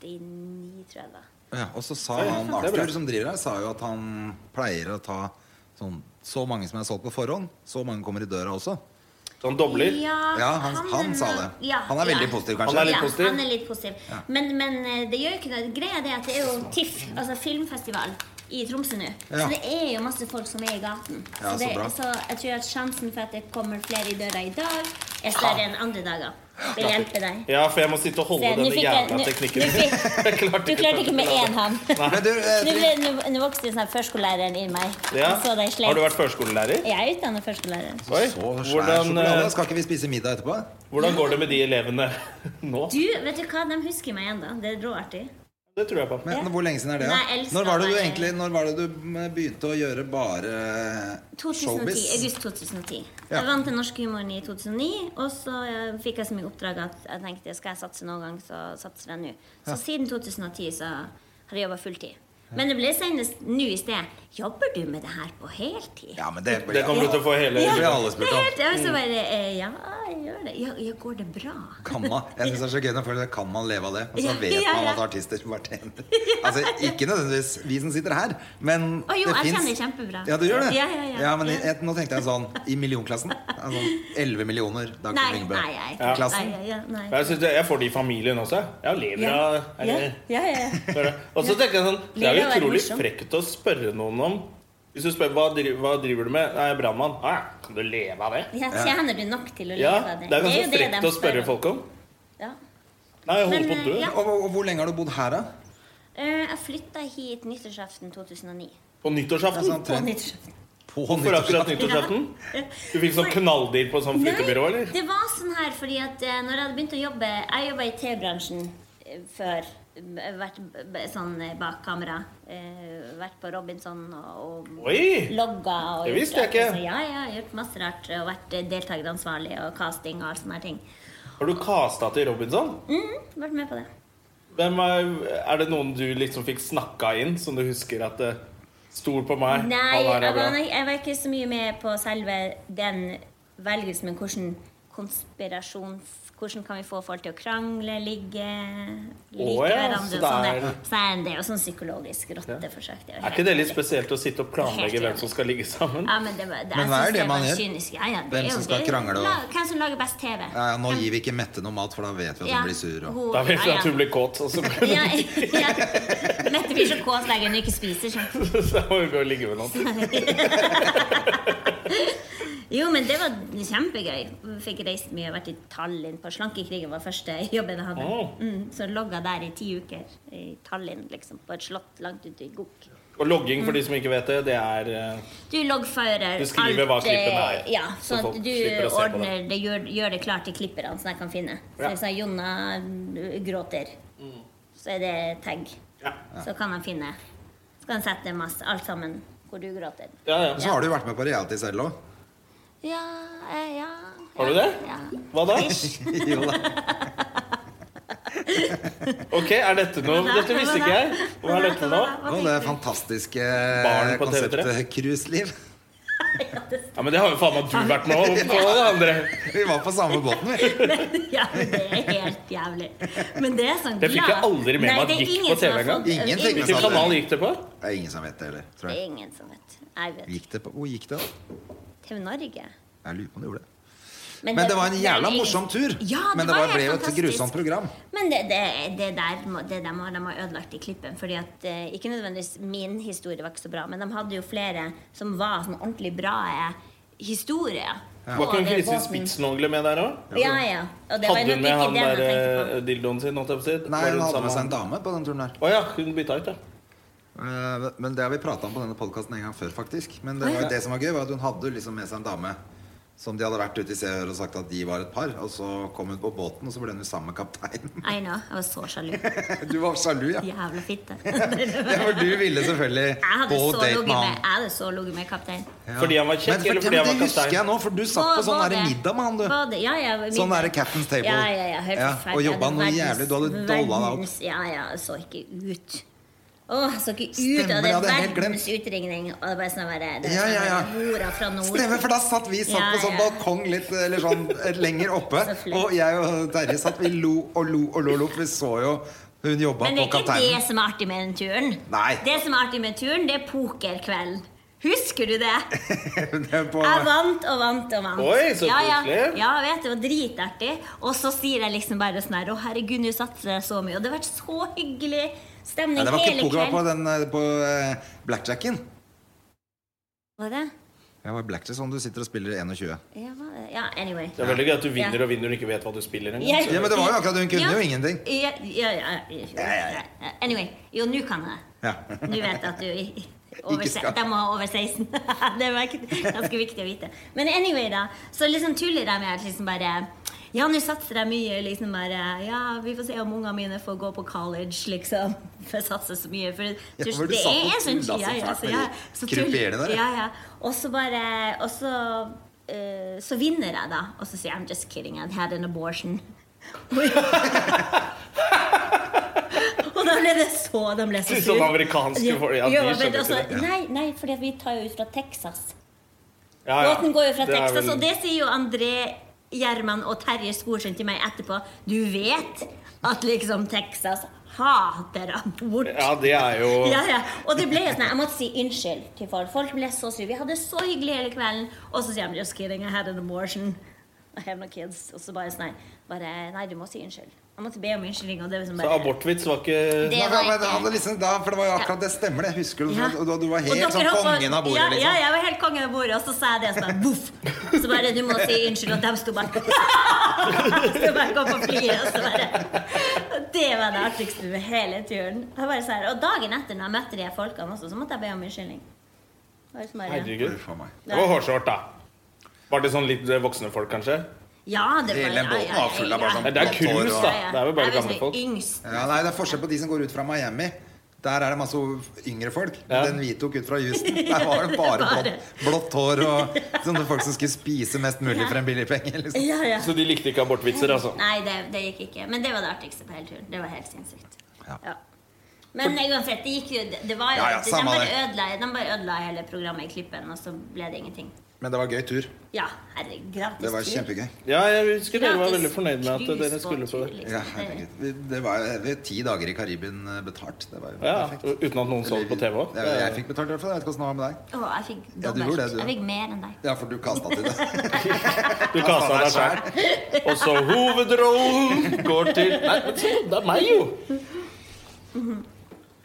Speaker 3: 89, tror jeg. da
Speaker 2: Ja, og så sa han
Speaker 1: det er bra.
Speaker 2: Arthur, som driver her, sa jo at han pleier å ta sånn så mange som er solgt på forhånd, så mange kommer i døra også.
Speaker 1: sånn dobler.
Speaker 2: Ja, han,
Speaker 3: er
Speaker 2: han sa
Speaker 3: nok-
Speaker 2: det.
Speaker 3: ja,
Speaker 2: Han er
Speaker 3: ja.
Speaker 2: veldig positiv,
Speaker 1: Han er
Speaker 2: kanskje.
Speaker 1: litt
Speaker 3: Ja,
Speaker 1: positiv.
Speaker 3: han er litt positiv. Men, men eh, det gjør jo ikke noe. Greia er det at det er jo TIFF, altså filmfestival, i Tromsø nå.
Speaker 2: Ja.
Speaker 3: Så det er jo masse folk som er i gaten.
Speaker 2: Ja, så
Speaker 3: det,
Speaker 2: bra.
Speaker 3: så jeg tror at sjansen for at det kommer flere i døra i dag, er større enn andre dager. Vil hjelpe deg.
Speaker 1: Ja, for jeg må sitte og holde
Speaker 3: Se, nå
Speaker 1: denne
Speaker 3: fikk jeg-
Speaker 1: jævla
Speaker 3: nå-
Speaker 1: teknikken.
Speaker 3: nå fikk-
Speaker 1: Jeg klarte
Speaker 3: Du klarte ikke med én hånd.
Speaker 2: Men du, eh,
Speaker 3: Nå ble- nå- Nå vokste jo sånn førskolelæreren i meg.
Speaker 1: Ja.
Speaker 3: Og så det slet.
Speaker 1: Har du vært førskolelærer?
Speaker 3: Jeg er utdannet førskolelærer.
Speaker 1: Oi,
Speaker 2: så svær
Speaker 1: hvordan,
Speaker 2: sjokolade.
Speaker 1: eh,
Speaker 2: Skal ikke vi spise middag etterpå?
Speaker 1: hvordan går det med de elevene nå?
Speaker 3: Du, vet du hva? De husker meg ennå. Det er råartig.
Speaker 1: Det tror jeg på.
Speaker 2: Men Hvor lenge siden er det?
Speaker 3: Nei, jeg
Speaker 2: da?
Speaker 3: elsker
Speaker 2: Når var det du
Speaker 3: meg.
Speaker 2: egentlig Når var det du eh, begynte å gjøre bare
Speaker 3: 2010,
Speaker 2: showbiz?
Speaker 3: august 2010.
Speaker 2: Ja.
Speaker 3: Jeg vant den norske humoren i 2009. Og så eh, fikk jeg så mye oppdrag at jeg tenkte skal jeg satse noen gang, så satser jeg nå. Så siden 2010 så har jeg jobba fulltid. Men det ble senest nå i sted. Jobber du med det her på heltid?
Speaker 2: Ja, men det
Speaker 1: Det kommer du til å få hele
Speaker 2: Det blir alle
Speaker 3: Det
Speaker 2: spurt om.
Speaker 3: er
Speaker 2: Mm.
Speaker 3: helt, jeg så bare, eh, ja, jeg gjør det. Ja, ja, går det bra?
Speaker 2: Kan man, jeg synes det er så gøy når folk sier, Kan man leve av det? Og så
Speaker 3: Ja,
Speaker 2: vet
Speaker 3: ja,
Speaker 2: man
Speaker 3: ja.
Speaker 2: at artister bare tjener Altså Ikke nødvendigvis vi som sitter her, men
Speaker 3: Å jo,
Speaker 2: det
Speaker 3: jeg
Speaker 2: finnes-
Speaker 3: tjener kjempebra.
Speaker 2: Ja, du gjør det?
Speaker 3: Ja, ja, ja.
Speaker 2: men
Speaker 3: Ja.
Speaker 2: jeg, nå tenkte jeg sånn i millionklassen. Altså 11 millioner
Speaker 3: Nei,
Speaker 2: Dagfjord
Speaker 3: nei, nei.
Speaker 2: Lyngbø-klassen.
Speaker 3: Nei, ja, nei.
Speaker 1: Jeg, synes, jeg får de i familien også. Jeg lever av
Speaker 3: Ja,
Speaker 1: eller-
Speaker 3: ja, ja.
Speaker 1: Hører du? Og så tenker jeg sånn Det er
Speaker 3: Lille
Speaker 1: jo
Speaker 3: var
Speaker 1: utrolig
Speaker 3: morsom.
Speaker 1: frekt å spørre noen om Hvis du spør hva driver, hva driver du med, Nei, jeg er brannmann. Ah, ja, kan du leve av det?
Speaker 3: Ja, tjener du nok til å leve
Speaker 1: Ja,
Speaker 3: av det?
Speaker 1: Det er
Speaker 3: jo
Speaker 1: ganske
Speaker 3: det
Speaker 1: frekt
Speaker 3: de
Speaker 1: å spørre
Speaker 3: spør om.
Speaker 1: folk om.
Speaker 3: Ja.
Speaker 1: Nei, jeg holder
Speaker 3: Men, eh,
Speaker 1: på å dø.
Speaker 3: ja.
Speaker 2: Og, og hvor lenge har du bodd her, da?
Speaker 3: Eh, Jeg flytta hit nyttårsaften 2009.
Speaker 1: På
Speaker 2: Altså,
Speaker 1: nyttårsaften.
Speaker 3: På
Speaker 2: tre-
Speaker 3: nyttårsaften.
Speaker 2: på
Speaker 1: Hvorfor akkurat
Speaker 2: nyttårsaften.
Speaker 1: nyttårsaften? Du fikk sånn knalldeal på sånn flyttebyrå, eller?
Speaker 3: det var sånn her fordi at eh, når jeg hadde begynt å jobbe Jeg jobba i TV-bransjen eh, før. eh, Vært b- b- sånn eh, bak kamera. eh, Vært på Robinson og, og
Speaker 1: Oi!
Speaker 3: logga. Og
Speaker 1: Det
Speaker 3: gjort
Speaker 1: visste jeg
Speaker 3: rart,
Speaker 1: ikke.
Speaker 3: altså. Ja, ja, gjort masse rart. Og vært eh, deltakeransvarlig og casting og alt sånne her ting. Mm,
Speaker 1: Har du casta til Robinson?
Speaker 3: Vært med på det.
Speaker 1: Hvem er, er det noen du liksom fikk snakka inn, som du husker at eh, Stol på meg.
Speaker 3: Nei, altså,
Speaker 1: han her
Speaker 3: jeg
Speaker 1: er bra.
Speaker 3: var, jeg var ikke så mye med på selve den velgelsen, men hvordan konspirasjons... Hvordan kan vi få folk til å krangle, ligge, like
Speaker 1: Å ja, så
Speaker 3: hverandre og sånn
Speaker 1: det er-
Speaker 3: der. Så er det er jo sånn psykologisk rotteforsøk. Det er jo
Speaker 1: Er
Speaker 3: helt
Speaker 1: ikke det litt
Speaker 3: jævlig.
Speaker 1: spesielt å sitte og planlegge hvem som skal ligge sammen?
Speaker 3: Ja, men det, var- det,
Speaker 2: Men
Speaker 3: jeg
Speaker 2: hva er
Speaker 3: synes
Speaker 2: det man
Speaker 3: var
Speaker 2: gjør?
Speaker 3: Kynisk. Ja, ja, det
Speaker 2: Hvem
Speaker 3: er jo-
Speaker 2: som skal
Speaker 3: det er jo-
Speaker 2: krangle og-
Speaker 3: la- Hvem som lager best TV?
Speaker 2: Ja, ja, nå gir vi ikke Mette noe mat, for da vet vi at hun blir sur. Og...
Speaker 1: Da vet vi at hun blir kåt. Og så
Speaker 3: ja, ja. Mette blir så kåt hver gang hun ikke spiser. Sånn.
Speaker 1: Så må vi gå og ligge med noen.
Speaker 3: Jo, men det var kjempegøy. Fikk reist mye, vært i Tallinn på Slankekrigen var første jobben jeg hadde.
Speaker 1: Åh.
Speaker 3: Mm, så logga der i ti uker i Tallinn, liksom, på et slott langt ute i Gok.
Speaker 1: Og logging, for de som ikke vet det, det er eh,
Speaker 3: Du loggfører
Speaker 1: Du skriver hva
Speaker 3: alt, eh,
Speaker 1: klippene er,
Speaker 3: Ja,
Speaker 1: så
Speaker 3: sånn
Speaker 1: folk
Speaker 3: at du
Speaker 1: slipper å se på det.
Speaker 3: ordner det, gjør, gjør det klart til klipperne, så jeg kan finne.
Speaker 1: Ja. Mm.
Speaker 3: Så hvis jeg, Jonna eh, gråter, så er det tag.
Speaker 1: Ja.
Speaker 3: Så kan han finne. Så kan han sette masse, alt sammen hvor du gråter.
Speaker 1: ja, ja.
Speaker 2: Så har du jo vært med på reality selv òg.
Speaker 3: Ja, eh, ja
Speaker 1: Har du det?
Speaker 3: Ja.
Speaker 1: Hva da?
Speaker 2: jo da.
Speaker 1: Ok, er dette noe
Speaker 3: Hva da?
Speaker 1: Dette visste ikke jeg. Hva er dette nå?
Speaker 3: Hva
Speaker 2: Og det
Speaker 3: tenker du?
Speaker 2: fantastiske
Speaker 1: Barn på TV3.
Speaker 2: konseptet cruiseliv.
Speaker 1: Ja, Men det har jo faen meg du vært med på, André.
Speaker 2: Vi var på samme båten, vi.
Speaker 3: Ja, men det er helt jævlig. Men det er sånn
Speaker 1: Det fikk jeg aldri med meg at
Speaker 3: det er
Speaker 1: gikk
Speaker 3: ingen
Speaker 1: på
Speaker 3: som har
Speaker 1: TV engang.
Speaker 3: fått-
Speaker 2: Ingen
Speaker 3: det er
Speaker 2: fikk
Speaker 1: Hvilken kanal gikk det på?
Speaker 2: Det er ingen som vet det heller. Tror
Speaker 3: Det
Speaker 2: jeg.
Speaker 3: er ingen som vet. Jeg vet.
Speaker 2: Gikk det på? Hvor gikk det, da?
Speaker 3: TV Norge?
Speaker 2: Jeg lurer på om det gjorde det.
Speaker 3: Men
Speaker 2: Men
Speaker 3: det-
Speaker 2: det var en
Speaker 3: det er
Speaker 2: jævla
Speaker 3: en egen-
Speaker 2: morsom tur.
Speaker 3: Ja, det
Speaker 2: Men det
Speaker 3: var
Speaker 2: var-
Speaker 3: helt
Speaker 2: ble jo et
Speaker 3: fantastisk.
Speaker 2: grusomt program.
Speaker 3: Men det, det, det der må- det de, har, de har ødelagt i klippen. Fordi at eh, Ikke nødvendigvis min historie var ikke så bra, men de hadde jo flere som var sånn ordentlig bra eh, historier.
Speaker 1: Var ikke
Speaker 3: Og
Speaker 1: hun
Speaker 3: det
Speaker 1: Kristin
Speaker 3: båten-
Speaker 1: Spitsnogle med der òg?
Speaker 3: Ja, ja. Og det var
Speaker 1: Hadde
Speaker 3: nok
Speaker 1: hun med
Speaker 3: ikke
Speaker 1: han
Speaker 3: det man
Speaker 1: der
Speaker 3: tenkte på.
Speaker 1: eh, dildoen sin? holdt jeg på å si?
Speaker 2: Nei,
Speaker 1: Var
Speaker 2: hun hadde
Speaker 1: sammen
Speaker 2: med seg en
Speaker 1: med han?
Speaker 2: dame på den turen der.
Speaker 1: Å ja, hun bytta ut, ja.
Speaker 2: Eh, Men det har vi prata om på denne podkasten en gang før, faktisk. Men det, var jo det som var gøy, var at hun hadde liksom med seg en dame som de hadde vært ute i Se og Hør og sagt at de var et par. Og så kom hun på båten, og så ble hun jo sammen med kapteinen.
Speaker 3: I know. Jeg var så sjalu.
Speaker 2: Du var sjalu, ja.
Speaker 3: Jævla fitte.
Speaker 2: Ja, for du ville selvfølgelig
Speaker 3: Jeg hadde
Speaker 2: på
Speaker 3: så
Speaker 2: date
Speaker 3: ligget
Speaker 2: med
Speaker 3: med,
Speaker 2: han.
Speaker 3: jeg hadde så ligget med kaptein.
Speaker 2: Ja.
Speaker 1: Fordi han var kjekk,
Speaker 2: Men for-
Speaker 1: eller fordi
Speaker 2: men
Speaker 1: han var
Speaker 2: Det husker jeg
Speaker 1: kaptein?
Speaker 2: nå, for du satt
Speaker 3: Var-
Speaker 2: på sånn
Speaker 3: var
Speaker 2: der
Speaker 3: det-
Speaker 2: middag med han, du.
Speaker 3: var det? Ja, ja, middag.
Speaker 2: Sånn der captain's table.
Speaker 3: Ja, ja, ja, helt
Speaker 2: Ja,
Speaker 3: forferdelig.
Speaker 2: og
Speaker 3: Jeg
Speaker 2: jobba
Speaker 3: hadde
Speaker 2: noe
Speaker 3: verdens-
Speaker 2: jævlig. Du hadde dolla deg opp.
Speaker 3: verdens- Ja, ja, jeg så ikke ut. Å, jeg så ikke ut
Speaker 2: Stemmer, det
Speaker 3: av det
Speaker 2: hadde jeg helt
Speaker 3: verdens utringning. Og det var sånn der, det var
Speaker 2: Ja, ja, ja.
Speaker 3: sånn der, Hora fra nord.
Speaker 2: Stemmer, for da satt vi satt
Speaker 3: Ja,
Speaker 2: på sånn
Speaker 3: ja.
Speaker 2: balkong litt eller sånn eh, lenger oppe.
Speaker 3: Så flott.
Speaker 2: Og jeg og Terje satt vi lo og lo og lo, og lo for vi så jo hun jobba
Speaker 3: Men det
Speaker 2: på
Speaker 3: er ikke det
Speaker 2: kapteinen.
Speaker 3: som er artig med den turen.
Speaker 2: Nei.
Speaker 3: Det som er artig med turen, det er pokerkvelden. Husker du det?
Speaker 2: Hun er på-
Speaker 3: Jeg vant og vant og vant.
Speaker 1: Oi, så
Speaker 3: ja, ja.
Speaker 1: koselig.
Speaker 3: Ja, jeg vet, det var dritartig. Og så sier jeg liksom bare sånn her Å, herregud, nå satser jeg så mye. Og det har vært så hyggelig stemning
Speaker 2: Nei, det var ikke
Speaker 3: hele
Speaker 2: poker, det var på
Speaker 3: kvelden.
Speaker 2: den eh, på eh, blackjacken.
Speaker 3: Var det?
Speaker 2: Ja, det var blackjack som du sitter og spiller i 21.
Speaker 3: Ja, var det? ja, anyway.
Speaker 1: Det er veldig gøy at du vinner og vinner og ikke vet hva du spiller engang.
Speaker 3: Jeg-
Speaker 2: Ja, men det var jo akkurat hun kunne jo ingenting.
Speaker 3: Ja, ja, ja, ja, ja, ja. Anyway. Jo, nå kan jeg det.
Speaker 2: Ja.
Speaker 3: Nå vet jeg at du i- over,
Speaker 2: Ikke skal.
Speaker 3: De må ha over 16. det er merket- ganske viktig å vite. Men anyway, da. Så liksom tuller jeg med at liksom bare Ja, nå satser jeg mye. liksom bare Ja, vi får se om ungene mine får gå på college, liksom. For jeg satser så mye. For,
Speaker 2: Ja,
Speaker 3: tull-
Speaker 2: for du
Speaker 3: det
Speaker 2: satt og
Speaker 3: er en
Speaker 2: tulla
Speaker 3: sånn
Speaker 2: så
Speaker 3: ja, ja,
Speaker 2: fælt
Speaker 3: så,
Speaker 2: med
Speaker 3: ja,
Speaker 2: de
Speaker 3: så tull-
Speaker 2: krupierne der.
Speaker 3: Ja, ja. Og så bare Og så eh, Så vinner jeg, da. Og så sier jeg I'm just kidding. I had an abortion. Og da ble det så De ble så
Speaker 1: Litt
Speaker 3: sur.
Speaker 1: sånn amerikanske folk, ja, de
Speaker 3: Ja, men
Speaker 1: skjønner
Speaker 3: altså,
Speaker 1: ikke det.
Speaker 3: Nei, nei, for vi tar jo ut fra Texas.
Speaker 1: Ja, Ah, ja.
Speaker 3: Båten går jo fra
Speaker 1: Det er
Speaker 3: Texas,
Speaker 1: vel-
Speaker 3: og det sier jo André Gjerman og Terje Skorsund til meg etterpå. Du vet at liksom Texas hater abort.
Speaker 1: Ja, det er jo
Speaker 3: Ja, ja. Og det ble jo sånn, jeg måtte si unnskyld til folk. Folk ble så sure. Vi hadde det så hyggelig hele kvelden, og så sier de just kidding, I had an abortion. I have no kids. Og så bare sånn, nei, bare, nei du må si unnskyld. Jeg måtte be om unnskyldning. Og det var sånn
Speaker 1: Så
Speaker 3: bare,
Speaker 1: abortvits var ikke
Speaker 3: Det
Speaker 2: Nei,
Speaker 3: var
Speaker 2: men det
Speaker 3: ikke-
Speaker 2: hadde liksom, da, for det var jo akkurat det stemmer, det. Husker du?
Speaker 3: Ja.
Speaker 2: Du, du var
Speaker 3: Og
Speaker 2: helt
Speaker 3: dere
Speaker 2: sånn
Speaker 3: hoppa-
Speaker 2: kongen av bordet,
Speaker 3: ja, Ja,
Speaker 2: liksom.
Speaker 3: jeg var helt kongen av bordet, og så sa jeg det, og så bare voff. Så bare du må si unnskyld, og dem sto bare Så bare gå på flyet, og så bare og Det var det artigste med hele turen. Jeg bare sa det. og dagen etter, når jeg møtte de her folkene også, så måtte jeg be om unnskyldning. Bare sånn bare-
Speaker 1: Herregud.
Speaker 2: Uff a meg.
Speaker 1: Det var hårshort, da. Var det sånn litt voksne folk, kanskje?
Speaker 3: Ja, det var
Speaker 2: Hele båten var full av bare sånn
Speaker 1: Nei, det er
Speaker 2: blått hår
Speaker 1: cruise,
Speaker 2: og-
Speaker 1: da. Det er vel bare
Speaker 3: Jeg var
Speaker 1: gamle
Speaker 3: sånn
Speaker 1: folk.
Speaker 3: Yngst.
Speaker 2: Ja, nei, Det er forskjell på de som går ut fra Miami. Der er det masse yngre folk.
Speaker 1: Ja.
Speaker 2: Den vi tok ut fra Houston, der var det bare blått, blått hår og sånne folk som skulle spise mest mulig for en billig penge. Liksom.
Speaker 3: Ja, ja.
Speaker 1: Så de likte ikke abortvitser, altså?
Speaker 3: Nei, det, det gikk ikke. Men det var det artigste på hele turen. Det var helt sinnssykt.
Speaker 2: Ja.
Speaker 3: Ja. Men uansett, det gikk jo Det, det var jo
Speaker 2: Ja, ja,
Speaker 3: de,
Speaker 2: samme
Speaker 3: bare
Speaker 2: det.
Speaker 3: ødela, de bare ødela hele programmet i klippen, og så ble det ingenting.
Speaker 2: Men det var gøy tur.
Speaker 3: Ja, herregud. Gratis
Speaker 2: Det var
Speaker 3: tur.
Speaker 2: kjempegøy.
Speaker 1: Ja, jeg husker dere var
Speaker 3: Gratis
Speaker 1: veldig fornøyd med at
Speaker 3: cruise
Speaker 1: dere
Speaker 3: på
Speaker 1: skulle på
Speaker 3: tur,
Speaker 1: det.
Speaker 3: liksom.
Speaker 2: Ja, herregud. Vi- det var jo vi- ti dager i Karibien eh, betalt. Det var jo
Speaker 1: Ja,
Speaker 2: perfekt.
Speaker 1: Uten at noen så det på TV òg.
Speaker 2: Ja, jeg fikk betalt i hvert fall. Jeg vet ikke hvordan det var med deg.
Speaker 3: Å, jeg fikk
Speaker 2: Ja, du
Speaker 3: dobbelt.
Speaker 2: gjorde det, du.
Speaker 3: jeg fikk mer enn deg.
Speaker 2: Ja, for du kasta til det.
Speaker 1: Du kasta deg sjæl. Og så hovedrollen går til Nei, men se, det er meg, jo!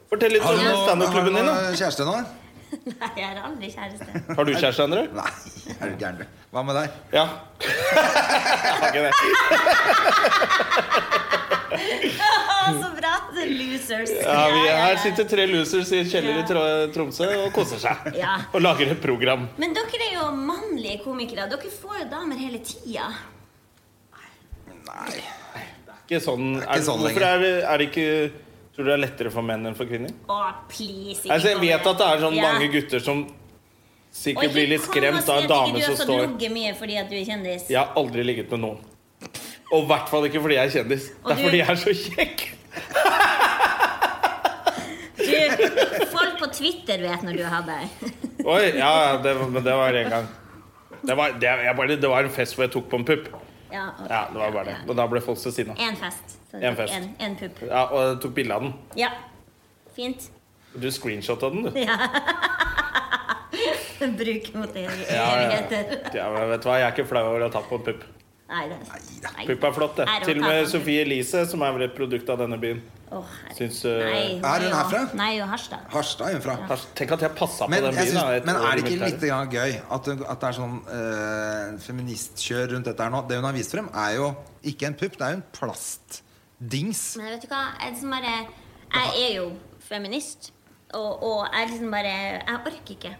Speaker 1: Fortell litt om standup-klubben din. da
Speaker 2: Har du kjæreste nå?
Speaker 3: Nei, jeg er aldri kjæreste.
Speaker 1: Har du kjæreste, André?
Speaker 2: Nei, er du gæren, du. Hva med deg?
Speaker 1: Ja. Jeg har ikke det.
Speaker 3: Å, så bra! The losers.
Speaker 1: Ja, vi,
Speaker 3: Ja, ja,
Speaker 1: her
Speaker 3: ja.
Speaker 1: sitter tre losers i en kjeller i Tro- Tromsø og koser seg.
Speaker 3: Ja.
Speaker 1: Og lager et program.
Speaker 3: Men dere er jo mannlige komikere. Dere får jo damer hele tida.
Speaker 2: Nei.
Speaker 1: Ikke sånn,
Speaker 2: Det er ikke
Speaker 1: er,
Speaker 2: sånn
Speaker 1: hvorfor
Speaker 2: lenger.
Speaker 1: er, det- er det ikke Tror du det er lettere for menn enn for kvinner?
Speaker 3: Å, please. ikke
Speaker 1: Altså, jeg
Speaker 3: kom
Speaker 1: vet
Speaker 3: med-
Speaker 1: at det er sånn
Speaker 3: Ja.
Speaker 1: mange gutter som
Speaker 3: Og
Speaker 1: sikkert
Speaker 3: ikke
Speaker 1: blir litt
Speaker 3: kom og
Speaker 1: skremt av
Speaker 3: si
Speaker 1: en
Speaker 3: at ikke
Speaker 1: dame
Speaker 3: du
Speaker 1: som
Speaker 3: har fått
Speaker 1: står
Speaker 3: ligget mye fordi at du er kjendis.
Speaker 1: Jeg har aldri ligget med noen. Og i hvert fall ikke fordi jeg er kjendis. Det
Speaker 3: Og
Speaker 1: er
Speaker 3: du-
Speaker 1: fordi jeg er så kjekk.
Speaker 3: Du, folk på Twitter vet når du har deg.
Speaker 1: Oi, ja, det, men det var en gang. Det var, det, jeg bare, det var en fest hvor jeg tok på en pupp.
Speaker 3: Ja, ok.
Speaker 1: Ja, det var bare det. Og da ble folk så sinna.
Speaker 3: En fest. Så
Speaker 1: En fest.
Speaker 3: En, en pupp.
Speaker 1: Ja, og jeg tok bilde av den.
Speaker 3: Ja. Fint.
Speaker 1: Du screenshotta den, du.
Speaker 3: Bruk mot det
Speaker 1: Ja, ja.
Speaker 3: heter.
Speaker 1: Ja, men vet du hva, Jeg er ikke flau over å ha tatt på en pupp.
Speaker 3: Nei, det Nei.
Speaker 1: Puppa er flott, det.
Speaker 3: Er hun
Speaker 1: Til og med
Speaker 3: herfra?
Speaker 1: Sofie Elise, som er vel et produkt av denne byen.
Speaker 3: Å, herregud.
Speaker 1: Syns, eh,
Speaker 3: Nei,
Speaker 2: Er hun
Speaker 3: jo-
Speaker 2: herfra?
Speaker 3: Nei, hun er Harstad.
Speaker 2: Harstad er hun fra.
Speaker 1: Her- Tenk at jeg passa på
Speaker 2: Men,
Speaker 1: den
Speaker 2: jeg
Speaker 1: byen.
Speaker 2: synes,
Speaker 1: da, et
Speaker 2: men
Speaker 1: år i
Speaker 2: er det ikke
Speaker 1: militæret.
Speaker 2: litt grann gøy at, det- at det er sånn eh, feministkjør rundt dette her nå? Det hun har vist frem, er jo ikke en pupp, det er jo en plastdings.
Speaker 3: Men vet du hva? Jeg, liksom bare, jeg er jo feminist, og, og jeg liksom bare Jeg orker ikke.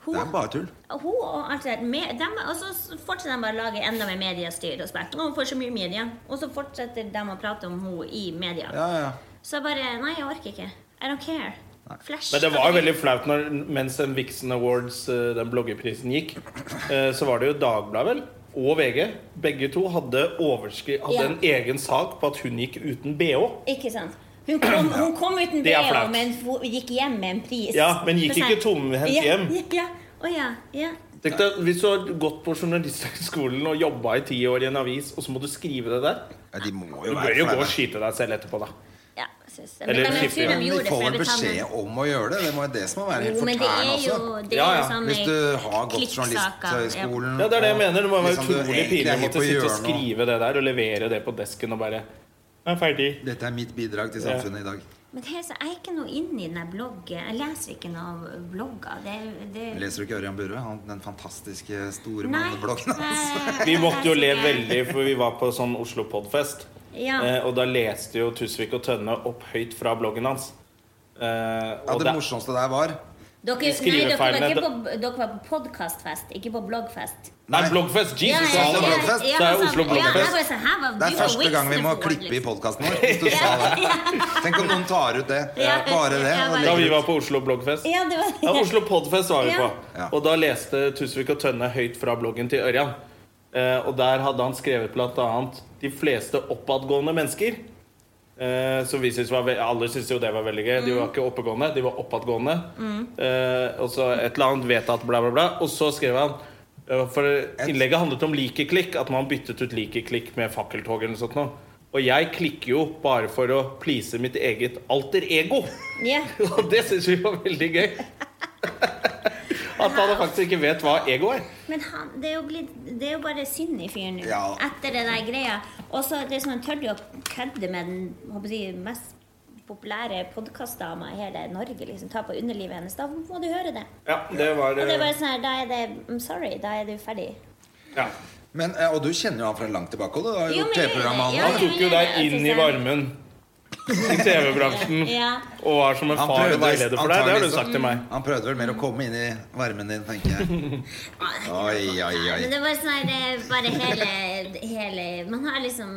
Speaker 3: Hun,
Speaker 2: Det er bare tull.
Speaker 3: hun og alt det der med, dem, Og så fortsetter de bare å lage enda mer mediestyr og spekk. Hun får så mye media, og så fortsetter de å prate om henne i media.
Speaker 2: Ja, ja.
Speaker 3: Så jeg bare Nei, jeg orker ikke. I don't care. Flash.
Speaker 1: Men det var jo veldig flaut når, mens den Vixen Awards, eh, den bloggerprisen, gikk. eh, Så var det jo Dagbladet, vel, og VG. Begge to hadde, overskri- hadde
Speaker 3: Ja.
Speaker 1: en egen sak på at hun gikk uten bh.
Speaker 3: Ikke sant? Hun kom, hun kom uten
Speaker 1: Det er
Speaker 3: BH,
Speaker 1: flaut.
Speaker 3: men hun gikk hjem med en pris.
Speaker 1: Ja, men gikk
Speaker 3: For seg-
Speaker 1: ikke tomhendt
Speaker 3: ja,
Speaker 1: hjem.
Speaker 3: Ja, ja. Å ja, ja.
Speaker 1: Tenk deg, Hvis du har gått på journalisthøgskolen og jobba i ti år i en avis, og så må du skrive det der
Speaker 2: ja de må
Speaker 1: Du
Speaker 2: jo
Speaker 1: bør jo gå og
Speaker 2: flaue.
Speaker 1: skyte deg selv etterpå, da.
Speaker 3: ja jeg synes det.
Speaker 1: Eller
Speaker 3: Men jeg
Speaker 1: skifte hjem.
Speaker 3: tror de
Speaker 2: Men
Speaker 3: gjorde
Speaker 2: de
Speaker 3: det, for
Speaker 2: får
Speaker 3: jeg
Speaker 2: vel
Speaker 3: ble sammen.
Speaker 2: beskjed om å gjøre det. Det må jo det som må være helt
Speaker 3: Jo, men det er
Speaker 2: fortærende
Speaker 3: jo
Speaker 2: også.
Speaker 3: det er
Speaker 1: Ja, ja.
Speaker 3: jo sånn
Speaker 2: Hvis du har gått
Speaker 3: klikksaker,
Speaker 2: journalisthøgskolen
Speaker 1: Ja, Det er det jeg
Speaker 2: og
Speaker 1: mener. Det må være
Speaker 2: liksom du
Speaker 1: utrolig
Speaker 2: egentlig
Speaker 1: pinlig
Speaker 2: er
Speaker 1: å
Speaker 2: helt
Speaker 1: måtte
Speaker 2: på
Speaker 1: sitte og
Speaker 2: hjørnet og-
Speaker 1: skrive det der og levere det på desken og bare Jeg er ferdig.
Speaker 2: Dette er mitt bidrag til samfunnet i dag.
Speaker 3: Ja. Men det er så- jeg er ikke noe inne i den der bloggen. Jeg leser ikke noen blogger. Det, det...
Speaker 2: Leser du ikke Ørjan Burøe? Han- Den fantastiske store
Speaker 3: Nei.
Speaker 2: mannebloggen hans.
Speaker 3: eh,
Speaker 1: Vi måtte jo le
Speaker 3: jeg leser ikke.
Speaker 1: veldig, for vi var på sånn Oslo Podfest.
Speaker 3: Ja.
Speaker 1: Eh, og da leste jo Tusvik og Tønne opp høyt fra bloggen hans. Eh,
Speaker 2: Ja,
Speaker 1: og
Speaker 2: det
Speaker 1: det,
Speaker 2: morsomste der var
Speaker 3: Dere, nei, dere, var
Speaker 1: Skrivefeilene-
Speaker 3: ikke på, dere var på podkastfest, ikke på bloggfest.
Speaker 1: nei, bloggfest! Jesus!
Speaker 2: ja,
Speaker 1: alle
Speaker 2: ja.
Speaker 1: bloggfest. Det er
Speaker 3: altså,
Speaker 1: Oslo Bloggfest.
Speaker 3: Ja, jeg bare sa, her var
Speaker 2: Det
Speaker 3: du
Speaker 2: er
Speaker 3: på
Speaker 2: første gang vi
Speaker 3: Wilson
Speaker 2: må
Speaker 3: Award,
Speaker 2: klippe i
Speaker 3: liksom.
Speaker 2: podkasten vår. Hvis du sa det. Tenk om noen tar ut det.
Speaker 3: Ja.
Speaker 2: Bare det.
Speaker 3: Ja,
Speaker 2: og
Speaker 3: bare-
Speaker 1: Da vi
Speaker 2: legger
Speaker 1: var på Oslo Bloggfest.
Speaker 3: Ja, det var
Speaker 1: Ja, Oslo Podfest var vi
Speaker 3: Ja.
Speaker 1: på.
Speaker 2: Ja.
Speaker 1: Og da leste Tusvik og Tønne høyt fra bloggen til Ørjan. Eh, og der hadde han skrevet blant annet 'De fleste oppadgående mennesker'. Eh, så vi synes var ve Alle syntes jo det var veldig gøy. De var ikke oppegående, de var oppadgående. Eh, og så et eller annet vedtatt, bla, bla, bla. Og så skrev han eh, For innlegget handlet om likeklikk, at man byttet ut likeklikk med fakkeltog eller noe sånt. noe. Og jeg klikker jo bare for å please mitt eget alter ego.
Speaker 3: Ja.
Speaker 1: Og det syns vi var veldig gøy. At han faktisk ikke vet hva ego er.
Speaker 3: Men han, det, er jo blitt, det er jo bare synd i fyren nå.
Speaker 2: Ja.
Speaker 3: Etter det der greia. Og så liksom, han tør jo å kødde med den håper jeg, å si, mest populære podkastdama i hele Norge. liksom, Ta på underlivet hennes. Da må du høre det.
Speaker 1: Ja, det var
Speaker 3: Og det er bare sånn her, da er det I'm sorry, da er du ferdig.
Speaker 1: ja.
Speaker 2: ut. Men, eh, og du kjenner jo han fra langt tilbake. Og du har
Speaker 3: Jo,
Speaker 2: jo
Speaker 3: men jeg-
Speaker 2: TV-program med
Speaker 3: ja,
Speaker 2: han
Speaker 1: Han
Speaker 2: også.
Speaker 1: tok jo deg inn i varmen i TV-bransjen
Speaker 3: Ja.
Speaker 1: og var som en
Speaker 2: Han
Speaker 1: far og
Speaker 2: prøvde-
Speaker 1: veileder for deg. Det har du
Speaker 2: antageligvis-
Speaker 1: sagt til meg.
Speaker 2: Han prøvde vel mer å komme inn i varmen din, tenker jeg. Oi, oi,
Speaker 3: Men
Speaker 2: oi.
Speaker 3: det var sånn her, det er bare hele, hele Man har liksom,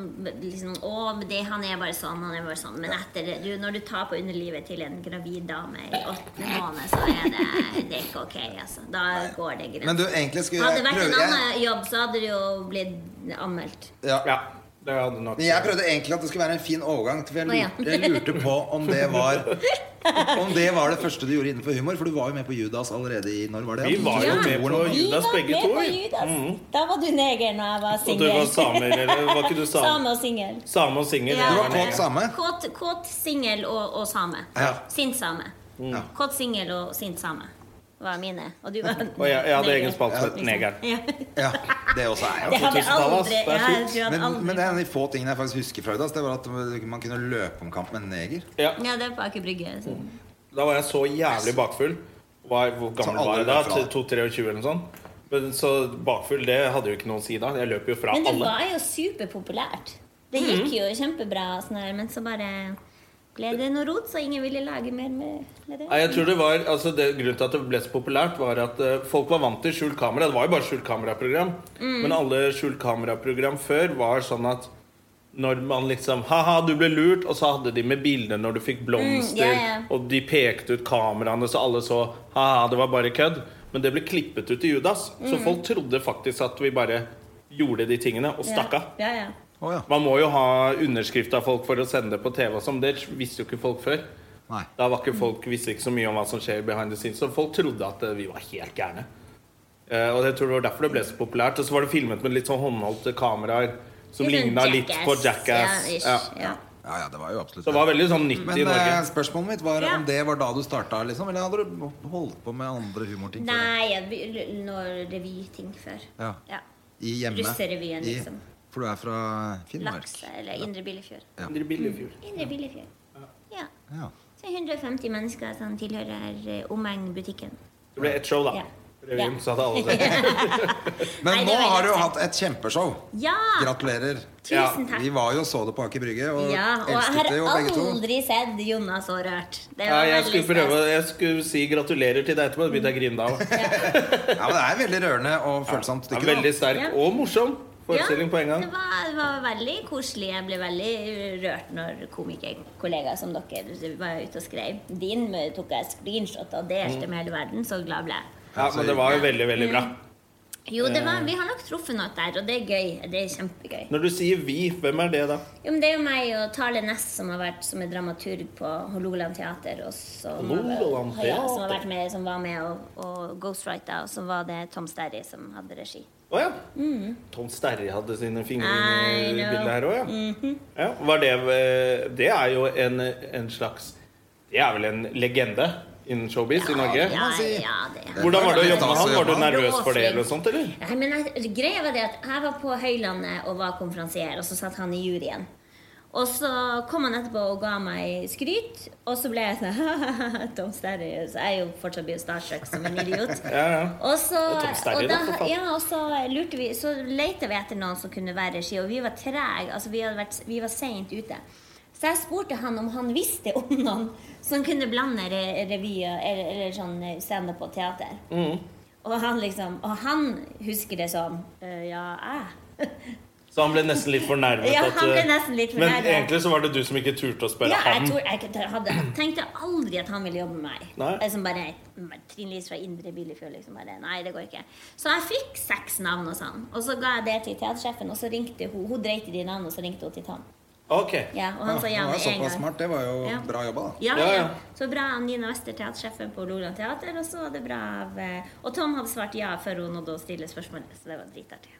Speaker 3: liksom Å, men det, han er bare sånn, han er bare sånn. Men etter det, du, når du tar på underlivet til en gravid dame i åttende måned, så er det, det er ikke ok, altså. Da går det greit.
Speaker 2: Men du, egentlig skulle
Speaker 3: hadde
Speaker 2: jeg
Speaker 3: det vært en
Speaker 2: prøve jeg,
Speaker 3: annen jobb, så hadde det jo blitt anmeldt.
Speaker 2: ja.
Speaker 1: Ja, det hadde nok
Speaker 2: Men jeg prøvde egentlig at det skulle være en fin overgang. For jeg
Speaker 3: Å, ja.
Speaker 2: lurte, jeg lurte på om det var Om det var det første du gjorde innenfor humor. For du var jo med på Judas allerede i Når var det?
Speaker 1: Vi var jo med på
Speaker 2: Judas.
Speaker 1: Judas begge to. vi.
Speaker 3: Judas. Da var du neger når jeg var
Speaker 1: Og du var samer, eller var ikke du same?
Speaker 3: og singel.
Speaker 1: Same og singel.
Speaker 3: Ja.
Speaker 2: Du
Speaker 1: det
Speaker 2: var kåt
Speaker 1: nede.
Speaker 2: same.
Speaker 3: Kåt, kåt singel og, og same.
Speaker 2: Ja. Mm.
Speaker 3: Sint same.
Speaker 2: Ja.
Speaker 3: Kåt singel og sint same var mine. Og du var
Speaker 1: Og jeg, jeg hadde
Speaker 3: neger.
Speaker 1: egen spalte som het Negeren.
Speaker 3: Ja.
Speaker 2: Ja, det også er jo
Speaker 3: Det hadde jeg
Speaker 1: 2000-tallet, ass.
Speaker 3: aldri,
Speaker 1: Det er
Speaker 3: ja, jeg
Speaker 1: sjukt.
Speaker 3: tror jeg hadde
Speaker 2: Men,
Speaker 3: aldri.
Speaker 2: men det er en av de få tingene jeg faktisk husker fra Udas, det var at man kunne løpe om kamp med en neger.
Speaker 1: Ja.
Speaker 3: Ja, det er på Aker Brygge.
Speaker 1: Mm.
Speaker 3: så.
Speaker 1: Da var jeg så jævlig bakfull. Var, hvor gammel
Speaker 2: alle
Speaker 1: var jeg
Speaker 2: løp
Speaker 1: da?
Speaker 2: fra deg.
Speaker 1: 2-23 eller noe sånt? Men så bakfull, det hadde jo ikke noe å si da. Jeg løp jo fra
Speaker 3: Men det
Speaker 1: alle. Mm.
Speaker 3: var jo superpopulært. Det gikk jo kjempebra, og sånn her, men så bare ble det noe rot, så ingen ville lage mer med, med det.
Speaker 1: Nei, jeg tror det var, altså det, Grunnen til at det ble så populært, var at eh, folk var vant til skjult kamera. Det var jo bare skjult kameraprogram.
Speaker 3: Mm.
Speaker 1: Men alle skjult kameraprogram før var sånn at når man liksom Ha-ha, du ble lurt! Og så hadde de med bilder når du fikk blomster,
Speaker 3: Mm, ja, ja.
Speaker 1: og de pekte ut kameraene, så alle så Ha-ha, det var bare kødd. Men det ble klippet ut i Judas, så
Speaker 3: Mm.
Speaker 1: folk trodde faktisk at vi bare gjorde de tingene, og stakk av.
Speaker 3: Ja, ja.
Speaker 2: Å ja.
Speaker 1: Man må jo ha underskrift av folk for å sende det på TV. og sånn. Det visste jo ikke folk før.
Speaker 2: Nei.
Speaker 1: Da var ikke folk, visste ikke så mye om hva som skjer behind the scenes. Så folk trodde at eh, vi var helt gærne. Eh, og jeg tror det var derfor det ble så populært. Og så var det filmet med litt sånn håndholdte kameraer som
Speaker 3: Litt sånn
Speaker 1: ligna litt på Jackass.
Speaker 3: Ja, ish,
Speaker 1: Ja.
Speaker 3: ja.
Speaker 2: Ja, ja, det var jo absolutt
Speaker 1: Så det var veldig sånn nytt
Speaker 2: Men
Speaker 1: i Norge.
Speaker 2: eh, spørsmålet mitt var
Speaker 3: Ja.
Speaker 2: om det var da du starta, liksom? Eller hadde du holdt på med andre humorting? før det?
Speaker 3: Nei, jeg begynte noe revyting før.
Speaker 2: Ja. i hjemme.
Speaker 3: Russerevyen,
Speaker 2: i-
Speaker 3: liksom.
Speaker 2: For du er fra Finnmark?
Speaker 3: Laks eller Indre Billefjord.
Speaker 1: Indre Billefjord.
Speaker 3: Indre Billefjord. Ja.
Speaker 2: Ja.
Speaker 3: Så 150 mennesker som tilhører eh, Omeng-butikken.
Speaker 1: Det ble ett show, da.
Speaker 3: Ja.
Speaker 1: Revyen,
Speaker 3: Ja.
Speaker 1: så hadde alle sett.
Speaker 2: Men
Speaker 3: Nei, det
Speaker 2: nå
Speaker 3: var
Speaker 2: har du
Speaker 3: helt
Speaker 2: jo
Speaker 3: sant.
Speaker 2: hatt et kjempeshow.
Speaker 3: Ja!
Speaker 2: Gratulerer.
Speaker 3: Tusen takk.
Speaker 2: Vi var jo og så det på Aker Brygge, og
Speaker 3: Ja, og jeg
Speaker 2: elsket
Speaker 3: har
Speaker 2: det jo begge to.
Speaker 3: aldri sett Jonas så rørt. Det
Speaker 1: Ja,
Speaker 3: var
Speaker 1: jeg
Speaker 3: veldig
Speaker 1: skulle prøve
Speaker 3: stas.
Speaker 1: Jeg skulle si gratulerer til deg etterpå. Da begynte jeg å grine da òg.
Speaker 2: Ja, men Det er veldig rørende og følsomt.
Speaker 1: Ja,
Speaker 2: stykke, da.
Speaker 1: veldig sterk
Speaker 3: Ja.
Speaker 1: og morsom forestilling på en gang.
Speaker 3: Det var, det var veldig koselig. Jeg ble veldig rørt når komikerkollegaer som dere var ute og skrev. Din eh, tok jeg screenshot og
Speaker 1: Mm.
Speaker 3: delte med hele verden. Så glad ble jeg.
Speaker 1: Ja, men det var jo veldig, veldig bra.
Speaker 3: Jo, det
Speaker 1: Eh.
Speaker 3: var, vi har nok truffet noe der, og det er gøy. Det er kjempegøy.
Speaker 1: Når du sier 'vi', hvem er det da?
Speaker 3: Jo, men Det er jo meg og Tale Næss som har vært som er dramaturg på Hålogaland teater. Og som,
Speaker 1: Hålogaland
Speaker 3: Ja, som, har
Speaker 1: Teater.
Speaker 3: vært med, som var med og, og ghostwrita, og som var det Tom Sterry som hadde regi.
Speaker 1: Å ja.
Speaker 3: Mm.
Speaker 1: Tom Sterry hadde sine fingre
Speaker 3: I
Speaker 1: i
Speaker 3: know.
Speaker 1: bildet her òg, ja.
Speaker 3: Mhm.
Speaker 1: ja. Var det eh, Det er jo en, en slags Det er vel en legende innen showbiz i Norge?
Speaker 3: Ja,
Speaker 2: man si.
Speaker 3: ja, det er.
Speaker 1: Hvordan var det å jobbe
Speaker 2: Stas å
Speaker 1: med han? Var du
Speaker 2: jobbe med han.
Speaker 1: nervøs for det eller noe sånt, eller?
Speaker 3: Nei, men jeg, greia var det at jeg var på Høylandet og var konferansier, og så satt han i juryen. Og så kom han etterpå og ga meg skryt, og så ble jeg sånn Tom Sterry. Så jeg er jo fortsatt blir starstruck som en idiot.
Speaker 1: Ja, ja.
Speaker 3: Og så,
Speaker 1: Det er Tom Sterry,
Speaker 3: og
Speaker 1: da, for faen.
Speaker 3: ja, og så lurte vi Så lette vi etter noen som kunne være regi, og vi var trege. Altså, vi, hadde vært, vi var seint ute. Så jeg spurte han om han visste om noen som kunne blande re revyer eller, eller sånn standup og teater.
Speaker 1: Mm.
Speaker 3: Og, han liksom, og han husker det som «Øh, Ja, jeg.
Speaker 1: Så han ble nesten litt fornærmet?
Speaker 3: Ja, han ble
Speaker 1: eh,
Speaker 3: nesten litt fornærmet.
Speaker 1: Men egentlig så var det du som ikke turte å spørre
Speaker 3: Ja, jeg,
Speaker 1: han.
Speaker 3: tror, jeg, kunne- hadde, jeg tenkte aldri at han ville jobbe med meg.
Speaker 1: Nei.
Speaker 3: Jeg Som bare mm, Trine Lise fra Indre Billefjord. Liksom bare, nei, det går ikke. Så jeg fikk seks navn hos han. Og så ga jeg det til teatersjefen, og så ringte hun. Hun dreit i de navnene, og så ringte hun til Tom.
Speaker 1: Ok.
Speaker 3: Ja, og han sa ja
Speaker 2: det
Speaker 3: med
Speaker 2: var
Speaker 3: en
Speaker 2: såpass
Speaker 3: gang.
Speaker 2: smart. Det var jo
Speaker 3: Ja.
Speaker 2: bra jobba, da.
Speaker 3: Ja,
Speaker 1: Ja,
Speaker 3: ja.
Speaker 1: ja.
Speaker 3: Så bra av Nina Wester, teatersjefen på Loland Teater. Og så var det bra av eh, Og Tom hadde svart ja før hun nådde å stille spørsmålet, så det var dritartig.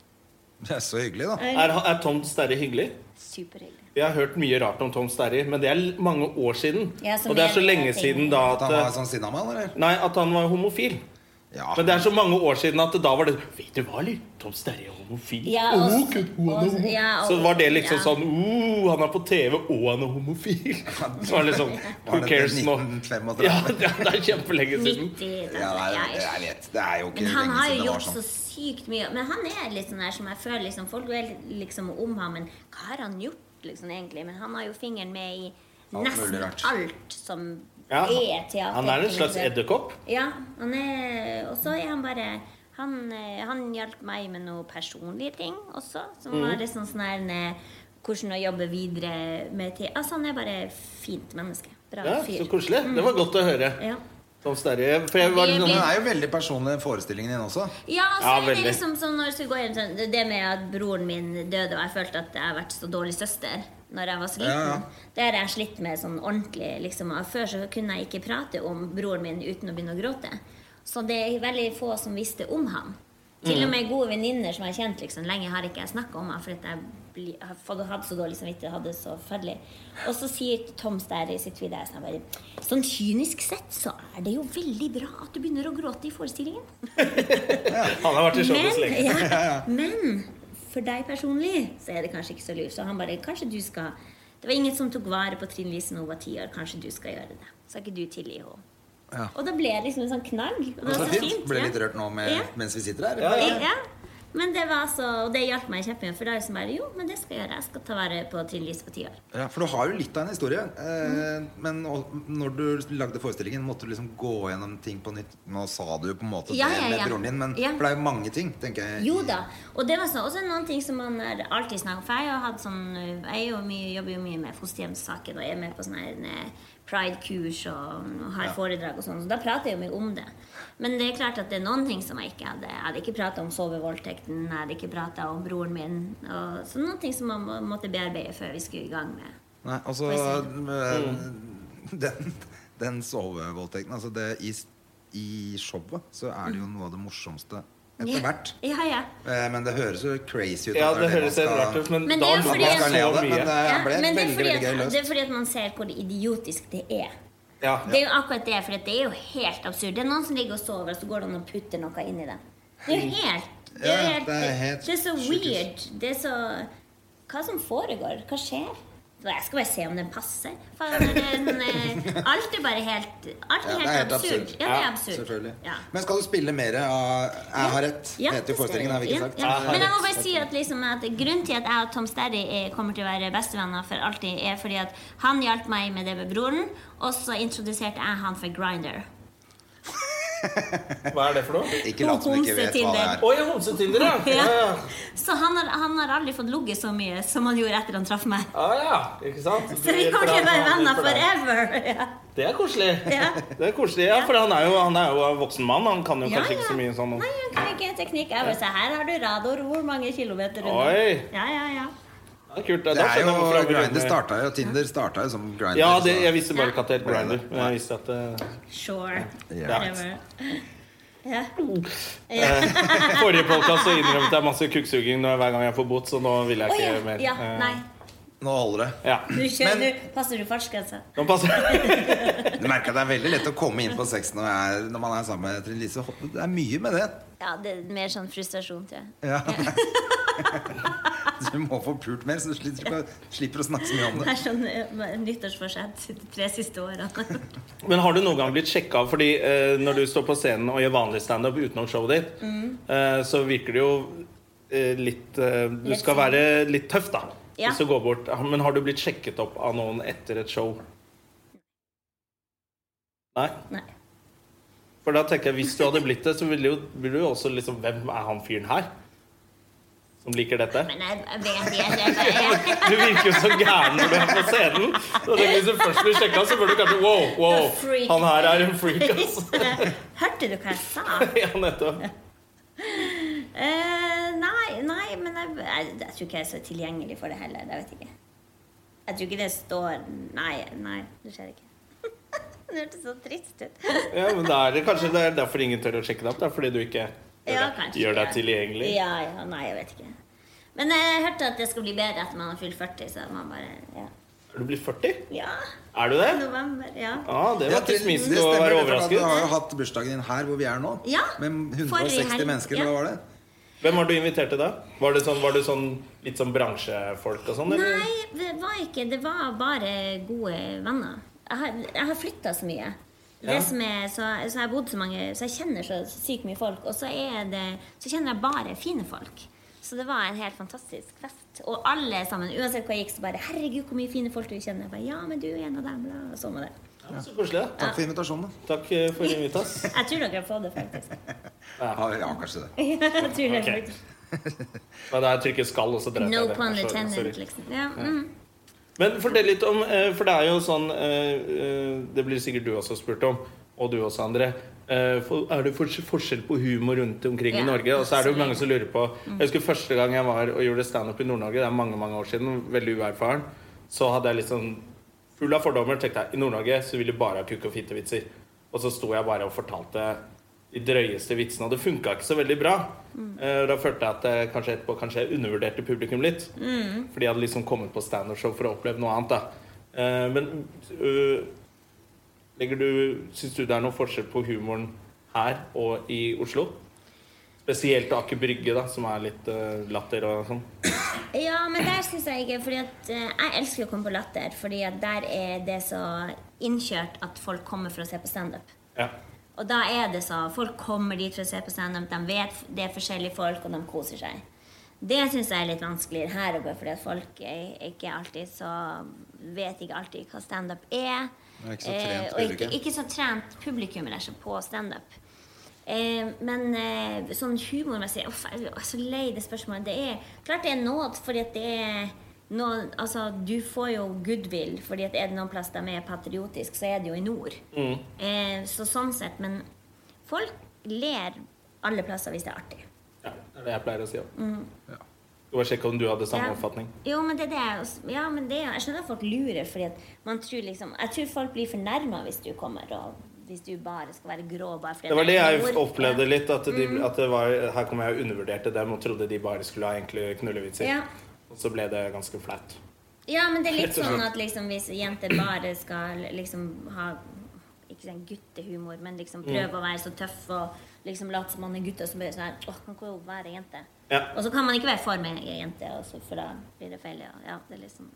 Speaker 2: Det er så hyggelig, da.
Speaker 1: Er, han- er Tom Sterry hyggelig?
Speaker 3: Superhyggelig.
Speaker 1: Vi har hørt mye rart om Tom Sterry, men det er l- mange år siden.
Speaker 3: Ja, som
Speaker 1: og det er så
Speaker 3: jeg-
Speaker 1: lenge
Speaker 3: jeg tenker-
Speaker 1: siden da
Speaker 2: At han var Ah.
Speaker 1: at eh,
Speaker 2: sånn sinnamann, eller?
Speaker 1: Nei, at han var homofil.
Speaker 2: Ja.
Speaker 1: Men det er så mange år siden at da var det Vet du hva, eller? Tom Sterry er homofil.
Speaker 3: Ja,
Speaker 1: Åh,
Speaker 3: og-
Speaker 1: kult, hun er
Speaker 3: og-
Speaker 1: homofil.
Speaker 3: ja, og-
Speaker 1: så var det liksom
Speaker 3: ja.
Speaker 1: sånn oh, han er på TV, og han er homofil. Så var det liksom Who
Speaker 2: Var det
Speaker 1: cares nå?
Speaker 2: 1935?
Speaker 1: Ja, det er kjempelenge siden.
Speaker 2: Ja,
Speaker 3: 90
Speaker 2: det er,
Speaker 3: ja,
Speaker 2: jeg vet, det er jo ikke
Speaker 3: Men han
Speaker 2: lenge
Speaker 3: har
Speaker 2: siden
Speaker 3: jo
Speaker 2: det var
Speaker 3: gjort så
Speaker 2: sånn.
Speaker 3: sykt mye. Men han er litt sånn der som jeg føler liksom, Folk vet liksom om ham, men hva har han gjort liksom egentlig? Men han har jo fingeren med i
Speaker 2: Alt mulig
Speaker 3: nesten
Speaker 2: rart.
Speaker 3: alt som
Speaker 1: Ja,
Speaker 3: er teater. Liksom.
Speaker 1: han er en slags edderkopp.
Speaker 3: Ja, han er Og så er han bare han, eh, han hjalp meg med noen personlige ting også,
Speaker 1: Mm.
Speaker 3: som var litt sånn sånn her eh, Hvordan å jobbe videre med te... Altså, han er bare fint menneske. Bra
Speaker 1: Ja,
Speaker 3: fyr. Mm.
Speaker 1: så koselig. Det var godt å høre.
Speaker 3: Ja.
Speaker 1: Tom Sterry. For jeg var
Speaker 3: Vi-
Speaker 1: litt
Speaker 2: Men
Speaker 1: sånn
Speaker 2: det er jo veldig personlig forestillingen din også.
Speaker 3: Ja, så
Speaker 1: Ja,
Speaker 3: er det
Speaker 1: veldig.
Speaker 3: liksom som når jeg skulle gå hjem sånn, Det det med at broren min døde, og jeg følte at jeg har vært så dårlig søster Når jeg var så
Speaker 2: Ja,
Speaker 3: liten.
Speaker 2: ja.
Speaker 3: Det har jeg slitt med sånn ordentlig. liksom og Før så kunne jeg ikke prate om broren min uten å begynne å gråte. Så det er veldig få som visste om ham. Til og med gode venninner som jeg har kjent liksom, lenge, har ikke jeg snakka om ham. For at jeg bli, har fått- hadde så dårlig samvittighet og hadde det så forferdelig. Og så sier Tom Sterry sitt videre sånn, bare, sånn kynisk sett så er det jo veldig bra at du begynner å gråte i forestillingen.
Speaker 1: Han har vært i showbiz
Speaker 3: Men,
Speaker 1: lenge.
Speaker 3: ja, men for deg personlig så er det kanskje ikke så lurt. Så han bare Kanskje du skal Det var ingen som tok vare på Trine Lise når hun var ti år. Kanskje du skal gjøre det. Skal ikke du tilgi henne?
Speaker 2: Ja.
Speaker 3: Og da ble det liksom en sånn knagg. Og det
Speaker 2: Det
Speaker 3: var
Speaker 2: var
Speaker 3: så
Speaker 2: fint.
Speaker 3: fint.
Speaker 2: Altså, Ble
Speaker 3: ja.
Speaker 2: litt rørt nå med,
Speaker 3: Ja.
Speaker 2: mens vi sitter her.
Speaker 1: Ja, ja.
Speaker 3: Ja. Men det var så Og det hjalp meg kjempemye. For da er det som bare Jo, men det skal jeg gjøre. Jeg skal ta vare på Trine Lise på ti år.
Speaker 2: Ja, for du har jo litt av en historie. Eh,
Speaker 3: Mm.
Speaker 2: Men og- når du lagde forestillingen, måtte du liksom gå gjennom ting på nytt? Nå sa du jo på en måte
Speaker 3: Ja,
Speaker 2: det
Speaker 3: ja,
Speaker 2: med
Speaker 3: ja.
Speaker 2: broren din, men
Speaker 3: Ja.
Speaker 2: for det er jo mange ting, tenker jeg.
Speaker 3: Jo da. Og det var sånn, også noen ting som man har alltid snakket om. For jeg, har jo hatt sånn, jeg er jo mye, jobber jo mye med fosterhjemssaken og er med på sånne her, eh, pride-kurs og, og har foredrag og sånn. Så da prater jeg jo mye om det. Men det er klart at det er noen ting som jeg ikke hadde. Jeg hadde ikke pratet om sovevoldtekten, jeg hadde ikke pratet om broren min. Og, så noen ting som man må, måtte bearbeide før vi skulle i gang med.
Speaker 2: Nei, altså eh, Den, den sovevoldtekten altså det, i, I showet så er det jo noe av det morsomste etter hvert.
Speaker 3: Mm. Ja, ja.
Speaker 2: Eh, Men det høres jo crazy ut.
Speaker 1: Ja,
Speaker 2: at
Speaker 1: det
Speaker 2: man
Speaker 1: høres helt
Speaker 2: skal-
Speaker 1: rart ut, men,
Speaker 3: Men det
Speaker 1: da
Speaker 3: er jo
Speaker 1: lo
Speaker 3: fordi-
Speaker 1: man
Speaker 2: Man skal le
Speaker 1: så
Speaker 2: av det, men
Speaker 1: mye.
Speaker 2: det ble
Speaker 3: ja men det er,
Speaker 2: veldig,
Speaker 3: fordi
Speaker 2: veldig gøy
Speaker 3: at, det
Speaker 2: løst.
Speaker 3: er fordi at man ser hvor idiotisk det er.
Speaker 1: Ja.
Speaker 3: Det er jo akkurat det, for det er jo helt absurd. Det er noen som ligger og sover, og så går det an å putte noe inn i dem. Det er jo helt Det er,
Speaker 2: Mm. Ja,
Speaker 3: jo
Speaker 2: ja,
Speaker 3: helt,
Speaker 2: det
Speaker 3: det,
Speaker 2: er helt
Speaker 3: det er så
Speaker 2: sjukehus.
Speaker 3: weird. Det er så Hva som foregår? Hva skjer? Så Jeg skal bare se om den passer. Faen, det er sånn, eh, alt er bare helt Alt er
Speaker 2: Ja,
Speaker 3: helt, absurd. Ja, det er absurd.
Speaker 2: Selvfølgelig.
Speaker 3: Ja.
Speaker 2: Men skal du spille mer av Jeg har rett?
Speaker 3: Ja,
Speaker 2: heter
Speaker 3: det
Speaker 2: jo forestillingen,
Speaker 3: skal
Speaker 2: har vi ikke
Speaker 3: jeg.
Speaker 2: sagt?
Speaker 3: Ja, ja. Men jeg må bare si at, liksom, at grunnen til at jeg og Tom Sterry eh, kommer til å være bestevenner for alltid, er fordi at han hjalp meg med det med broren, og så introduserte jeg han for Grinder.
Speaker 1: Hva er det for noe?
Speaker 2: Ikke lat som du ikke vet hva det er.
Speaker 3: Homsetinder.
Speaker 1: Å ja, homsetinder, ja. Ja, ja.
Speaker 3: Så han har, han har aldri fått ligget så mye som han gjorde etter han traff meg.
Speaker 1: Ah, ja. Ikke sant?
Speaker 3: Så vi kommer til å være venner forever. Ja.
Speaker 1: Det er koselig.
Speaker 3: Ja.
Speaker 1: Det er koselig, ja, For han er jo, han er jo en voksen mann. Han kan jo
Speaker 3: Ja,
Speaker 1: kanskje ikke så mye sånn
Speaker 3: Nei, han kan ikke teknikk. Jeg bare sa, her har du radar, hvor mange kilometer unna?
Speaker 1: Oi.
Speaker 3: Ja, ja, ja.
Speaker 1: Det er sånn kult. Da
Speaker 2: Det
Speaker 1: skjønner
Speaker 2: er
Speaker 1: jeg
Speaker 2: jo
Speaker 1: hvorfor han vil være
Speaker 2: Grindr liksom.
Speaker 1: med.
Speaker 2: starta jo Tinder starta jo som Grindr.
Speaker 1: Ja, det,
Speaker 2: så-
Speaker 1: jeg visste bare ikke at det het Grinder. Men jeg visste at eh,
Speaker 3: Sure.
Speaker 2: Ja.
Speaker 3: Whatever. Ja.
Speaker 1: Forrige podcast så innrømmet jeg masse kukksuging når- hver gang jeg får bot, så nå vil jeg
Speaker 3: Å
Speaker 1: ikke
Speaker 3: ja.
Speaker 1: mer.
Speaker 3: ja.
Speaker 1: Eh,
Speaker 3: Nei.
Speaker 2: Nå holder det.
Speaker 1: Ja.
Speaker 3: Du kjører,
Speaker 2: Men-
Speaker 3: du, passer du fartsgrensa?
Speaker 1: Nå passer
Speaker 2: Du merker at det er veldig lett å komme inn på sex når, jeg er, når man er sammen med Trine Lise. Hoppe- Det er mye med det.
Speaker 3: Ja, det er mer sånn frustrasjon, tror jeg.
Speaker 2: Ja. Du må få pult mer, så du slipper, ikke å- slipper å snakke så mye om
Speaker 3: Det
Speaker 2: det.
Speaker 3: er sånn eh, nyttårsforsett de tre siste årene.
Speaker 1: Men har du noen gang blitt sjekka fordi eh, når du står på scenen og gjør vanlig standup utenom showet ditt,
Speaker 3: Mm.
Speaker 1: eh, så virker det jo eh, litt eh, Du
Speaker 3: Litt
Speaker 1: skal
Speaker 3: sånn.
Speaker 1: være litt tøff, da.
Speaker 3: Ja.
Speaker 1: Hvis du går bort. Ah, Men har du blitt sjekket opp av noen etter et show? Nei?
Speaker 3: Nei.
Speaker 1: For da tenker jeg, hvis du hadde blitt det, så ville jo, ville jo også liksom Hvem er han fyren her? Som liker dette?
Speaker 3: Men jeg, jeg vet ikke. Jeg, jeg, jeg,
Speaker 1: Du virker jo så gæren når du er på scenen. Så det, hvis du først blir sjekka, så burde du kanskje Wow, wow,
Speaker 3: The freak.
Speaker 1: han her er en freak, altså.
Speaker 3: hørte du hva jeg sa?
Speaker 1: Ja, nettopp.
Speaker 3: Eh, nei, nei, men jeg, jeg, jeg tror ikke jeg er så tilgjengelig for det heller. Jeg vet ikke. Jeg tror ikke det står Nei, nei, det skjer ikke. det hørtes så trist ut.
Speaker 1: Ja, men da er det kanskje det er derfor ingen tør å sjekke deg opp. Det er fordi du ikke gjør,
Speaker 3: Ja,
Speaker 1: deg,
Speaker 3: kanskje.
Speaker 1: gjør deg tilgjengelig.
Speaker 3: Ja, ja, nei, jeg vet ikke. Men jeg hørte at det skal bli bedre etter man har fylt 40, så man bare Ja.
Speaker 1: Er du blitt 40?
Speaker 3: ja.
Speaker 1: Er du det?
Speaker 3: November, ja.
Speaker 1: Ja, det
Speaker 2: Ja,
Speaker 1: var
Speaker 2: Trine,
Speaker 1: ikke smisk
Speaker 2: det
Speaker 1: å
Speaker 2: stemmer,
Speaker 1: være
Speaker 2: for at Du har jo
Speaker 1: overrasket.
Speaker 2: hatt bursdagen din her hvor vi er nå.
Speaker 3: Ja,
Speaker 2: Med
Speaker 3: forrige
Speaker 2: 160
Speaker 3: helg,
Speaker 2: mennesker,
Speaker 3: ja.
Speaker 2: eller hva var det?
Speaker 1: Hvem var du invitert til da? Var det sånn, var det sånn litt sånn bransjefolk og sånn? eller?
Speaker 3: Nei, det var ikke Det var bare gode venner. Jeg har, jeg har flytta så mye. Det
Speaker 1: Ja.
Speaker 3: som er, så, så jeg har bodd så mange Så jeg kjenner så sykt mye folk. Og så, er det, så kjenner jeg bare fine folk. Så det var en helt fantastisk fest. Og alle sammen, uansett hvor jeg gikk, så bare 'Herregud, hvor mye fine folk du kjenner.' Jeg bare, 'Ja, men du er en av dem.' bla, Og sånn var det.
Speaker 1: Ja, Så koselig, da.
Speaker 2: Takk for invitasjonen. da.
Speaker 1: Takk eh, for invitas.
Speaker 3: Jeg tror dere har fått det, faktisk.
Speaker 2: Ja, ja, kanskje det.
Speaker 3: Jeg tror dere
Speaker 1: Ok.
Speaker 3: har fått det.
Speaker 1: Ja, det her trykket skal også drepe
Speaker 3: No
Speaker 1: deg.
Speaker 3: pun
Speaker 1: Sorry, sorry.
Speaker 3: intended, liksom. Ja, mm.
Speaker 1: Men fortell litt om eh, For det er jo sånn eh, eh, Det blir sikkert du også spurt om, og du også, André. Eh, for- Er det fors- forskjell på humor rundt omkring
Speaker 3: Ja,
Speaker 1: i Norge? Og så er det jo
Speaker 3: absolutt.
Speaker 1: mange som lurer på Jeg husker første gang jeg var og gjorde standup i Nord-Norge, det er mange mange år siden, veldig uerfaren, så hadde jeg litt sånn full av fordommer. tenkte jeg, I Nord-Norge så vil de bare ha kuk- og fittevitser. Og så sto jeg bare og fortalte de drøyeste vitsene, og det funka ikke så veldig bra. Eh, Da følte jeg at jeg kanskje etterpå kanskje jeg undervurderte publikum litt. Fordi jeg hadde liksom kommet på standup-show for å oppleve noe annet. da. Eh, Men øh, legger du Syns du det er noe forskjell på humoren her og i Oslo? Spesielt Aker Brygge, da, som er litt eh, latter og sånn.
Speaker 3: Ja, men der syns jeg ikke Fordi at eh, jeg elsker å komme på Latter, fordi at der er det så innkjørt at folk kommer for å se på standup.
Speaker 1: Ja.
Speaker 3: Og da er det så Folk kommer dit for å se på standup, de vet det er forskjellige folk, og de koser seg. Det syns jeg er litt vanskeligere her å gå, fordi at folk er ikke alltid så vet ikke alltid hva standup er. Eh,
Speaker 2: Det er ikke så trent
Speaker 3: og ikke,
Speaker 2: publikum.
Speaker 3: ikke så trent publikum er ikke på standup. Eh, men eh, sånn humormessig Uff, jeg er så lei det spørsmålet. Det er klart det er nåd, fordi at det er noe, altså, Du får jo goodwill, fordi at er det noen plass de er patriotisk så er det jo i nord. Eh, så sånn sett, men folk ler alle plasser hvis det er artig.
Speaker 1: ja. Det er det jeg pleier å si òg. Skal bare sjekke om du hadde samme
Speaker 3: Ja.
Speaker 1: oppfatning.
Speaker 3: Jo, men det er det jeg også- Ja, men det er, jeg skjønner at folk lurer, fordi at man tror liksom Jeg tror folk blir fornærma hvis du kommer og hvis du bare skal være grå bare fordi
Speaker 1: Det var det
Speaker 3: er
Speaker 1: jeg
Speaker 3: nord.
Speaker 1: opplevde litt. At, de, at det var, her kom jeg og undervurderte dem og trodde de bare skulle ha enkle knullevitser.
Speaker 3: Ja.
Speaker 1: Og så ble det ganske flaut.
Speaker 3: Ja, men det er litt
Speaker 1: Rett og slett.
Speaker 3: sånn at liksom, hvis jenter bare
Speaker 1: Mm.
Speaker 3: skal liksom ha Ikke sånn guttehumor, men liksom prøve å være så tøff og liksom later som man er gutt, og så blir det sånn her Åh, han kan jo være jente.
Speaker 1: Ja.
Speaker 3: Og så kan man ikke være for meg jeg er jente, og så- for da blir det feil. Ja. Ja, det er liksom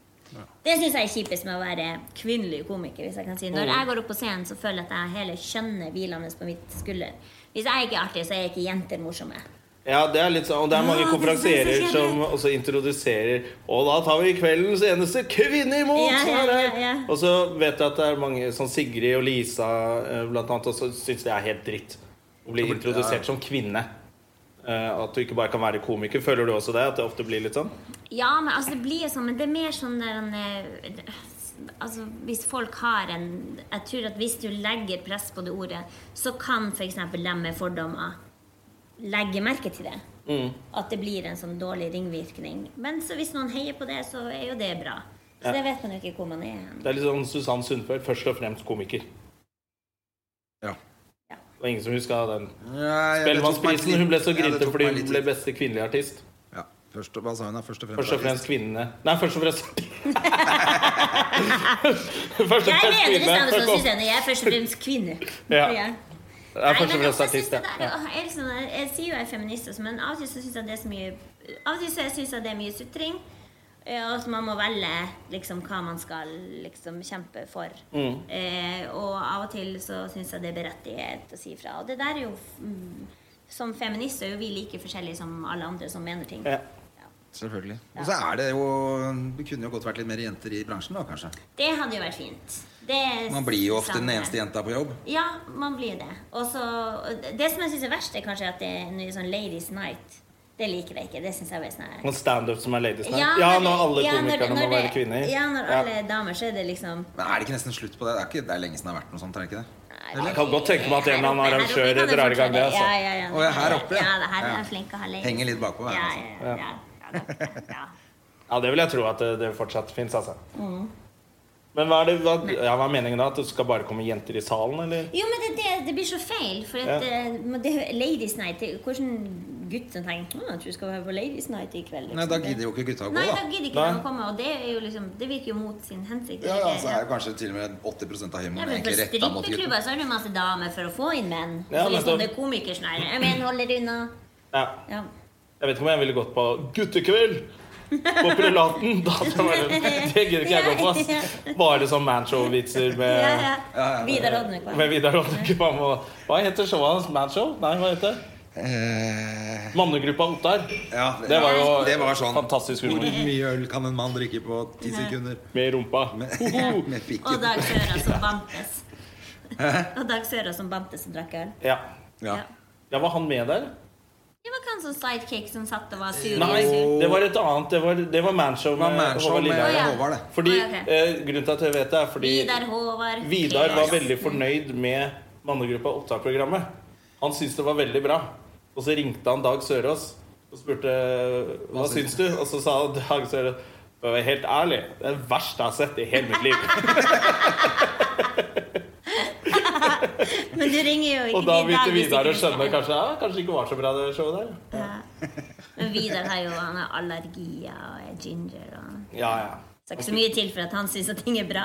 Speaker 3: det syns jeg er kjipest med å være kvinnelig komiker. hvis jeg kan si. Når jeg går opp på scenen, så føler jeg at jeg har hele kjønnet hvilende på mitt skulder. Hvis jeg ikke er artig, så er ikke jenter morsomme.
Speaker 1: Ja, det er litt sånn, og det er mange
Speaker 3: Ja, det
Speaker 1: konferansierer
Speaker 3: synes jeg er
Speaker 1: som
Speaker 3: kjedelig.
Speaker 1: også introduserer Og da tar vi kveldens eneste kvinne imot!
Speaker 3: Ja, ja,
Speaker 1: her er-»
Speaker 3: ja, ja.
Speaker 1: Og så vet jeg at det er mange som Sigrid og Lisa eh, blant annet også syns det er helt dritt å bli introdusert som kvinne. Eh, At du ikke bare kan være komiker. Føler du også det? At det ofte blir litt sånn?
Speaker 3: Ja, men altså, det blir jo sånn, men det er mer sånn der en, eh, Altså, hvis folk har en Jeg tror at hvis du legger press på det ordet, så kan f.eks. dem med fordommer legge merke til det. At det blir en sånn dårlig ringvirkning. Men så hvis noen heier på det, så er jo det bra. Så det vet man jo ikke hvor man er hen.
Speaker 1: Det er litt sånn Susann Sundfør, først og fremst komiker.
Speaker 2: Ja.
Speaker 1: Det var ingen som huska den.
Speaker 2: Ja, ja, det tok meg
Speaker 1: Spellemannsprisen.
Speaker 2: litt-
Speaker 1: Hun ble så
Speaker 2: ja, det
Speaker 1: grinete
Speaker 2: tok
Speaker 1: fordi
Speaker 2: meg
Speaker 1: hun
Speaker 2: litt
Speaker 1: ble
Speaker 2: tid.
Speaker 1: beste kvinnelige artist.
Speaker 2: Ja, først, og- hva sa hun da? Først og fremst,
Speaker 1: Først og fremst kvinnene. Nei, først og fremst Først og
Speaker 3: Jeg
Speaker 1: fremst
Speaker 3: mener det
Speaker 1: kvinnene.
Speaker 3: samme som Susanne. Jeg er først og fremst kvinne.
Speaker 1: Ja.
Speaker 3: Ja.
Speaker 1: Jeg er
Speaker 3: Nei,
Speaker 1: først og fremst
Speaker 3: men også synes
Speaker 1: artist,
Speaker 3: det der-
Speaker 1: ja.
Speaker 3: åh, jeg, er liksom, jeg, jeg sier jo jeg er feminist, også, men av og til så syns jeg det er så mye Av og til så syns jeg det er mye sutring. eh, Og at man må velge liksom, hva man skal liksom, kjempe for.
Speaker 1: Mm.
Speaker 3: Eh, og av og til så syns jeg det er berettiget å si ifra. Og det der er jo mm, Som feminist er jo vi like forskjellige som alle andre som mener ting.
Speaker 1: Ja.
Speaker 2: Selvfølgelig. Og så er det jo Det kunne jo godt vært litt mer jenter i bransjen, da, kanskje.
Speaker 3: Det hadde jo vært fint. Det
Speaker 2: Man blir jo ofte
Speaker 3: savner
Speaker 2: den
Speaker 3: jeg.
Speaker 2: eneste jenta på jobb.
Speaker 3: Ja, man blir det. Og så- det som jeg syns er verst, er kanskje at det er noe sånn Ladies Night. Det liker jeg ikke. Det synes jeg er sånn her-
Speaker 1: Og standup som er ladies night. Ja, når alle
Speaker 3: ja, når-
Speaker 1: komikerne
Speaker 3: når
Speaker 1: må være
Speaker 3: det-
Speaker 1: kvinner.
Speaker 3: Ja, når alle er damer, så er det liksom
Speaker 2: Men er det ikke nesten slutt på det? Det er, ikke, det er lenge siden det har vært noe sånt, er det ikke det?
Speaker 1: Jeg kan godt tenke meg at en eller annen
Speaker 3: Her oppe- her
Speaker 1: arrangør
Speaker 3: oppe kan
Speaker 1: drar i gang det,
Speaker 3: fortsette.
Speaker 1: altså.
Speaker 3: Ja, ja, ja.
Speaker 2: Å, ja, her oppe, ja.
Speaker 3: ja. det her
Speaker 2: Ja.
Speaker 3: er flink å ha ladies.
Speaker 2: Henger litt bakpå her,
Speaker 3: Ja,
Speaker 2: altså.
Speaker 3: ja, ja, ja. ja, det er det. ja.
Speaker 1: Ja, det vil jeg tro at det, det fortsatt fins, altså.
Speaker 3: Mm.
Speaker 1: Men hva er, det, hva, ja, hva er meningen da? At det skal bare komme jenter i salen, eller?
Speaker 3: Jo, men det, det, det blir så feil. For at,
Speaker 1: Ja.
Speaker 3: eh, men det, Ladies Night det- Hvordan gutt som tenker «Å, jeg tror jeg skal være på Ladies Night i kveld? liksom.
Speaker 2: Nei, da gidder jo ikke gutta å gå,
Speaker 3: Nei, da
Speaker 2: da.
Speaker 3: gidder ikke
Speaker 1: Nei.
Speaker 3: de å komme. Og det, er jo liksom, det virker jo mot sin hensikt.
Speaker 2: Ja, altså, ja, så er
Speaker 3: ja.
Speaker 2: jo kanskje til og med 80 av
Speaker 3: Ja,
Speaker 2: humoren
Speaker 3: men For
Speaker 2: egentlig retta mot gutten.
Speaker 3: strippeklubber så er det jo masse damer for å få inn menn.
Speaker 1: Ja,
Speaker 3: så liksom
Speaker 1: nettopp.
Speaker 3: det er komikersnær. Jeg mener, holder unna.
Speaker 1: Ja.
Speaker 3: Ja.
Speaker 1: Jeg vet ikke om jeg ville gått på guttekveld på Prelaten. Da hadde jeg vært- det gidder ikke jeg gå på. ass. Bare sånn manshow-vitser med
Speaker 3: Ja, ja. Vidar Odnek, hva?
Speaker 1: Med Vidar Oddekvam og Hva heter showet hans? Manshow? Nei, hva heter det?
Speaker 2: Eh,
Speaker 1: Mannegruppa Ottar.
Speaker 2: ja,
Speaker 1: Det var jo
Speaker 2: det var sånn
Speaker 1: fantastisk
Speaker 2: Hvor
Speaker 1: humor.
Speaker 2: mye øl kan en mann drikke på ti sekunder?
Speaker 1: Med rumpa. Hoho.
Speaker 2: Med
Speaker 3: Og
Speaker 2: pikken.
Speaker 3: Dag Søra som bantes. Og Dag Søra som bantes og drakk øl.
Speaker 1: Ja.
Speaker 2: Ja.
Speaker 1: ja, var han med der?
Speaker 3: Det var kanskje en sidekick som satt og var sur.
Speaker 1: Nei,
Speaker 3: og sur.
Speaker 1: det var et annet. Det var, det var Manshow
Speaker 2: Det var
Speaker 1: med
Speaker 2: manshow
Speaker 1: Eh, Håvard
Speaker 2: med
Speaker 1: Lilleheie.
Speaker 3: Å, ja.
Speaker 2: eh, Håvard, det.
Speaker 1: Fordi,
Speaker 3: Å, ja, ok.
Speaker 1: eh, grunnen til at jeg vet det, er fordi
Speaker 3: Vidar Håvard.
Speaker 1: Vidar var
Speaker 3: Kleras.
Speaker 1: veldig fornøyd med Mannegruppa Ottar-programmet. Han syntes det var veldig bra. Og så ringte han Dag Sørås og spurte hva syns du? Og så sa Dag Sørås for å være helt ærlig, det er det verste jeg har sett i hele mitt liv.
Speaker 3: Men du ringer jo ikke
Speaker 1: Og da
Speaker 3: til Dag
Speaker 1: begynte
Speaker 3: hvis
Speaker 1: Vidar å
Speaker 3: ikke du
Speaker 1: skjønne
Speaker 3: skal-
Speaker 1: kanskje ja, kanskje det ikke var så bra, det showet der.
Speaker 3: Men Vidar har jo han har allergier og er ginger og
Speaker 1: Ja, ja.
Speaker 3: Så det er ikke så mye til for at han syns at ting er bra.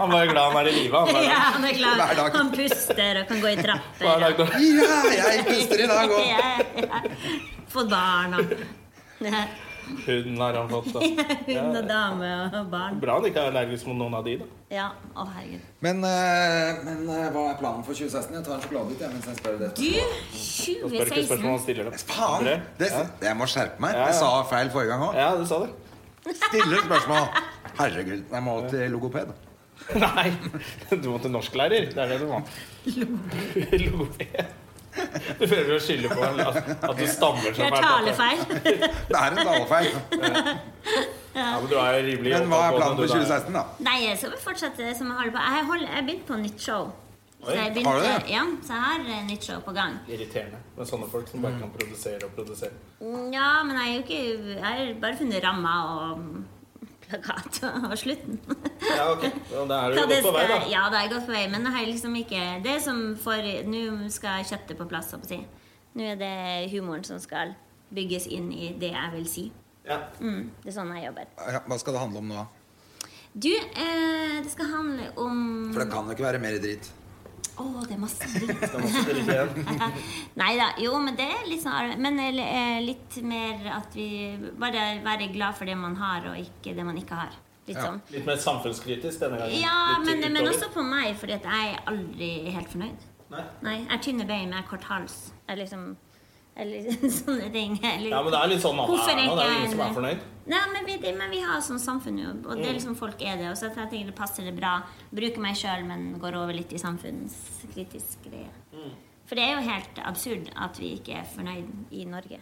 Speaker 1: Han var jo glad han er i live. Han
Speaker 3: ja,
Speaker 1: bare,
Speaker 3: han er glad.
Speaker 2: Hver dag.
Speaker 3: Han puster og kan gå i trapper.
Speaker 1: hver dag, da.
Speaker 2: ja, jeg puster i dag
Speaker 3: og-
Speaker 2: òg!
Speaker 3: ja, ja. Fått barn og
Speaker 1: Hun har han fått, da.
Speaker 3: Hund og dame og barn.
Speaker 1: Bra han ikke er allergisk mot noen av de, da.
Speaker 3: Ja, å herregud.
Speaker 2: Men, eh, men eh, hva er planen for 2016? Jeg tar en sjokoladebit jeg, mens jeg spør det.
Speaker 3: Du,
Speaker 1: Han spør ikke
Speaker 3: 2016
Speaker 1: spørsmål, han stiller det.
Speaker 2: Faen!
Speaker 1: Andre?
Speaker 2: Det, jeg må skjerpe meg.
Speaker 1: Ja, ja.
Speaker 2: Jeg sa feil forrige gang òg.
Speaker 1: Ja, du sa det.
Speaker 2: Stille spørsmål. Herregud. Jeg må til logoped.
Speaker 1: Nei, du må til norsklærer. Det er det du må. Logoped. Du føler å skylde på en- at at du stammer
Speaker 3: Du
Speaker 1: så
Speaker 3: har
Speaker 1: fælt.
Speaker 3: talefeil.
Speaker 2: Det er en talefeil.
Speaker 1: Ja, men du er jo rimelig
Speaker 2: Men hva er
Speaker 1: opptatt på
Speaker 2: planen for
Speaker 1: det, du da.
Speaker 2: 2016, da?
Speaker 3: Nei, jeg skal vel fortsette som jeg holder på. Jeg holder- Jeg begynte på nytt show. Så
Speaker 1: Oi,
Speaker 3: jeg
Speaker 2: har du det?
Speaker 3: begynte, ja, så jeg har eh, nytt show på gang.
Speaker 1: Irriterende med sånne folk som bare kan produsere og produsere.
Speaker 3: Mm, Ja, men jeg er jo ikke Jeg har bare funnet ramma og mm, plakat og og slutten.
Speaker 1: Ja, ok. Ja, Da er du
Speaker 3: Hva
Speaker 1: jo
Speaker 3: det
Speaker 1: godt på vei, da.
Speaker 3: skal- Ja, da er jeg godt på vei, men jeg har liksom ikke Det er som for Nå skal kjøttet på plass, holdt jeg på å si. Nå er det humoren som skal bygges inn i det jeg vil si.
Speaker 1: Ja.
Speaker 3: Mm, det er sånn jeg jobber.
Speaker 2: Ja, Hva skal det handle om nå? da?
Speaker 3: Du, eh, det skal handle om
Speaker 2: For det kan jo ikke være mer dritt.
Speaker 3: Å, det er masse dritt.
Speaker 1: Da måtte dere ikke igjen.
Speaker 3: Nei da. Jo, men det er litt sånn arv- Men eh, litt mer at vi Bare være glad for det man har, og ikke det man ikke har. Litt sånn.
Speaker 1: Litt mer samfunnskritisk denne gangen.
Speaker 3: Ja,
Speaker 1: Litt
Speaker 3: men, men
Speaker 1: utover.
Speaker 3: også på meg, fordi at jeg er aldri helt fornøyd.
Speaker 1: Nei.
Speaker 3: Nei, Jeg har tynne bein, jeg har kort hals. Jeg er liksom eller sånne ting. Eller,
Speaker 1: Ja, men det er litt sånn Anna
Speaker 3: Hvorfor
Speaker 1: Erna, det er jo
Speaker 3: jeg
Speaker 1: ingen som er fornøyd. Mm.
Speaker 3: Nei, men vi, det, men vi har sånn samfunn, jo, og det er liksom folk er det. Og så jeg tenker det passer det bra. Bruker meg sjøl, men går over litt i samfunnskritisk greie.
Speaker 1: Mm.
Speaker 3: For det er jo helt absurd at vi ikke er fornøyd i Norge.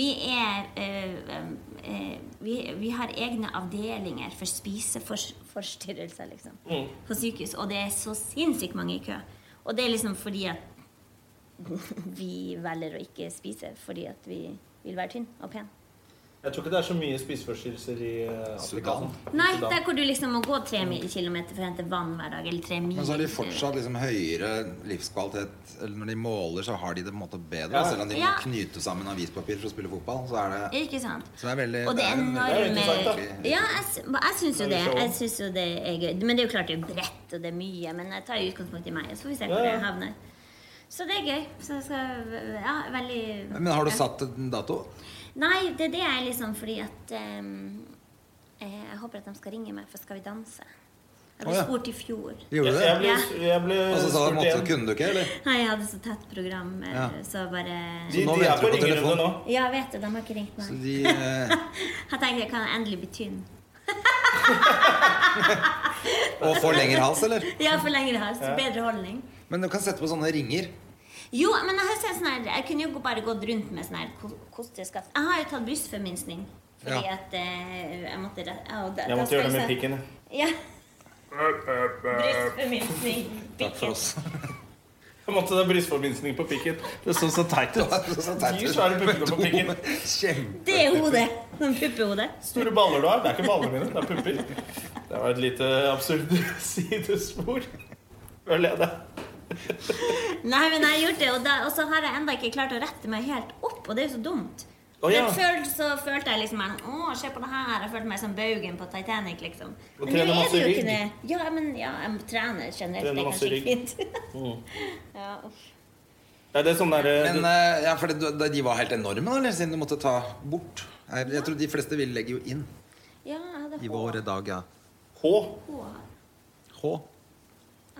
Speaker 3: Vi er øh, øh, øh, vi, vi har egne avdelinger for spiseforstyrrelser, liksom.
Speaker 1: Mm.
Speaker 3: På sykehus. Og det er så sinnssykt mange i kø. Og det er liksom fordi at vi velger å ikke spise fordi at vi vil være tynn og pen.
Speaker 1: Jeg tror ikke det er så mye spiseforstyrrelser i eh, Afrika.
Speaker 2: Sudan.
Speaker 1: sånn.
Speaker 3: Nei,
Speaker 1: Sudan.
Speaker 3: der hvor du liksom må gå tre mi- kilometer for å hente vann hver dag. Eller tre mil.
Speaker 2: Men så har de fortsatt liksom høyere livskvalitet Eller Når de måler, så har de det på en måte bedre.
Speaker 1: Ja.
Speaker 2: Selv om de
Speaker 3: Ja.
Speaker 2: må knyte sammen avispapir for å spille fotball. Så er det
Speaker 3: Ikke sant?
Speaker 2: Så det er veldig-
Speaker 3: og det er
Speaker 2: det er
Speaker 1: veldig
Speaker 3: enorme
Speaker 1: interessant,
Speaker 2: da.
Speaker 3: Ja, jeg, sy- jeg syns jo
Speaker 1: Det
Speaker 3: det.
Speaker 1: er litt
Speaker 3: Jeg synes jo det er gøy. Men det er jo klart det er bredt, og det er mye. Men jeg tar jo utgangspunkt i meg, og så får vi se hvor
Speaker 1: Ja, ja.
Speaker 3: jeg havner. Så det er gøy. Så jeg skal Ja, veldig
Speaker 2: Men har du
Speaker 3: ja.
Speaker 2: satt en dato?
Speaker 3: Nei, det, det er liksom fordi at ehm, eh, Jeg håper at de skal ringe meg, for skal vi danse? Jeg ble
Speaker 2: Å, ja.
Speaker 3: spurt i fjor.
Speaker 2: Gjorde
Speaker 1: Jeg,
Speaker 2: du
Speaker 1: jeg
Speaker 2: det?
Speaker 1: ble, jeg ble
Speaker 2: Og så sa du
Speaker 1: spurt
Speaker 2: måtte,
Speaker 1: igjen.
Speaker 2: kunne du ikke, eller?
Speaker 3: Nei, jeg hadde så tett program, eh,
Speaker 2: Ja.
Speaker 3: så bare
Speaker 1: De,
Speaker 2: nå
Speaker 1: de
Speaker 2: venter
Speaker 1: er på
Speaker 2: du på
Speaker 1: ringerunde
Speaker 2: telefon.
Speaker 1: nå.
Speaker 3: Ja, jeg vet det. De har ikke ringt
Speaker 2: Så
Speaker 3: meg.
Speaker 2: de eh,
Speaker 3: Jeg tenkte jeg kan endelig bli tynn.
Speaker 2: Og får lengre hals, eller?
Speaker 3: Ja, for lengre hals. Bedre holdning.
Speaker 2: Men du kan sette på sånne ringer.
Speaker 3: Jo, men jeg har sett sånn her Jeg kunne jo bare gått rundt med sånn her ko- kosteskaft. Jeg har jo tatt brystforminskning fordi
Speaker 2: Ja.
Speaker 3: at eh, jeg måtte re- ja, og da-
Speaker 1: Jeg
Speaker 3: da
Speaker 1: måtte
Speaker 3: skal
Speaker 1: gjøre det
Speaker 3: jeg
Speaker 1: med
Speaker 3: se-
Speaker 1: pikken. jeg.
Speaker 3: Ja. Brystforminskning.
Speaker 2: Takk for oss.
Speaker 1: Jeg måtte ha brystforminskning på pikken. Det så så teit ut.
Speaker 2: Så teit
Speaker 1: De
Speaker 2: ut.
Speaker 1: svære puppene på pikken.
Speaker 2: Kjempe.
Speaker 3: Det er hodet. Sånn puppehode.
Speaker 1: Store baller du har. Det er ikke ballene mine, det er pupper. Det var et lite absurd sidespor. Føler jeg det.
Speaker 3: Nei, men jeg har gjort det, og, da, og så har jeg enda ikke klart å rette meg helt opp, og det er jo så dumt.
Speaker 1: Å, ja.
Speaker 3: Men før så følte jeg liksom en, Å, se på det her. Jeg følte meg som baugen på Titanic, liksom.
Speaker 1: Og
Speaker 3: nå
Speaker 1: trener
Speaker 3: er
Speaker 1: masse
Speaker 3: det jo
Speaker 1: rygg.
Speaker 3: ikke det. Ja, men ja, jeg trener generelt.
Speaker 1: Trener
Speaker 3: det er
Speaker 1: masse
Speaker 3: kanskje
Speaker 1: rygg.
Speaker 3: ikke fint. ja, uff.
Speaker 1: Nei, det er sånn der, eh,
Speaker 2: Men eh, ja, for det, da- de var helt enorme, da, eller? Siden du måtte ta bort. Jeg, jeg tror de fleste vil legge jo inn
Speaker 3: ja, jeg hadde
Speaker 2: i
Speaker 3: H.
Speaker 2: våre dager.
Speaker 1: H.
Speaker 3: H.
Speaker 2: H.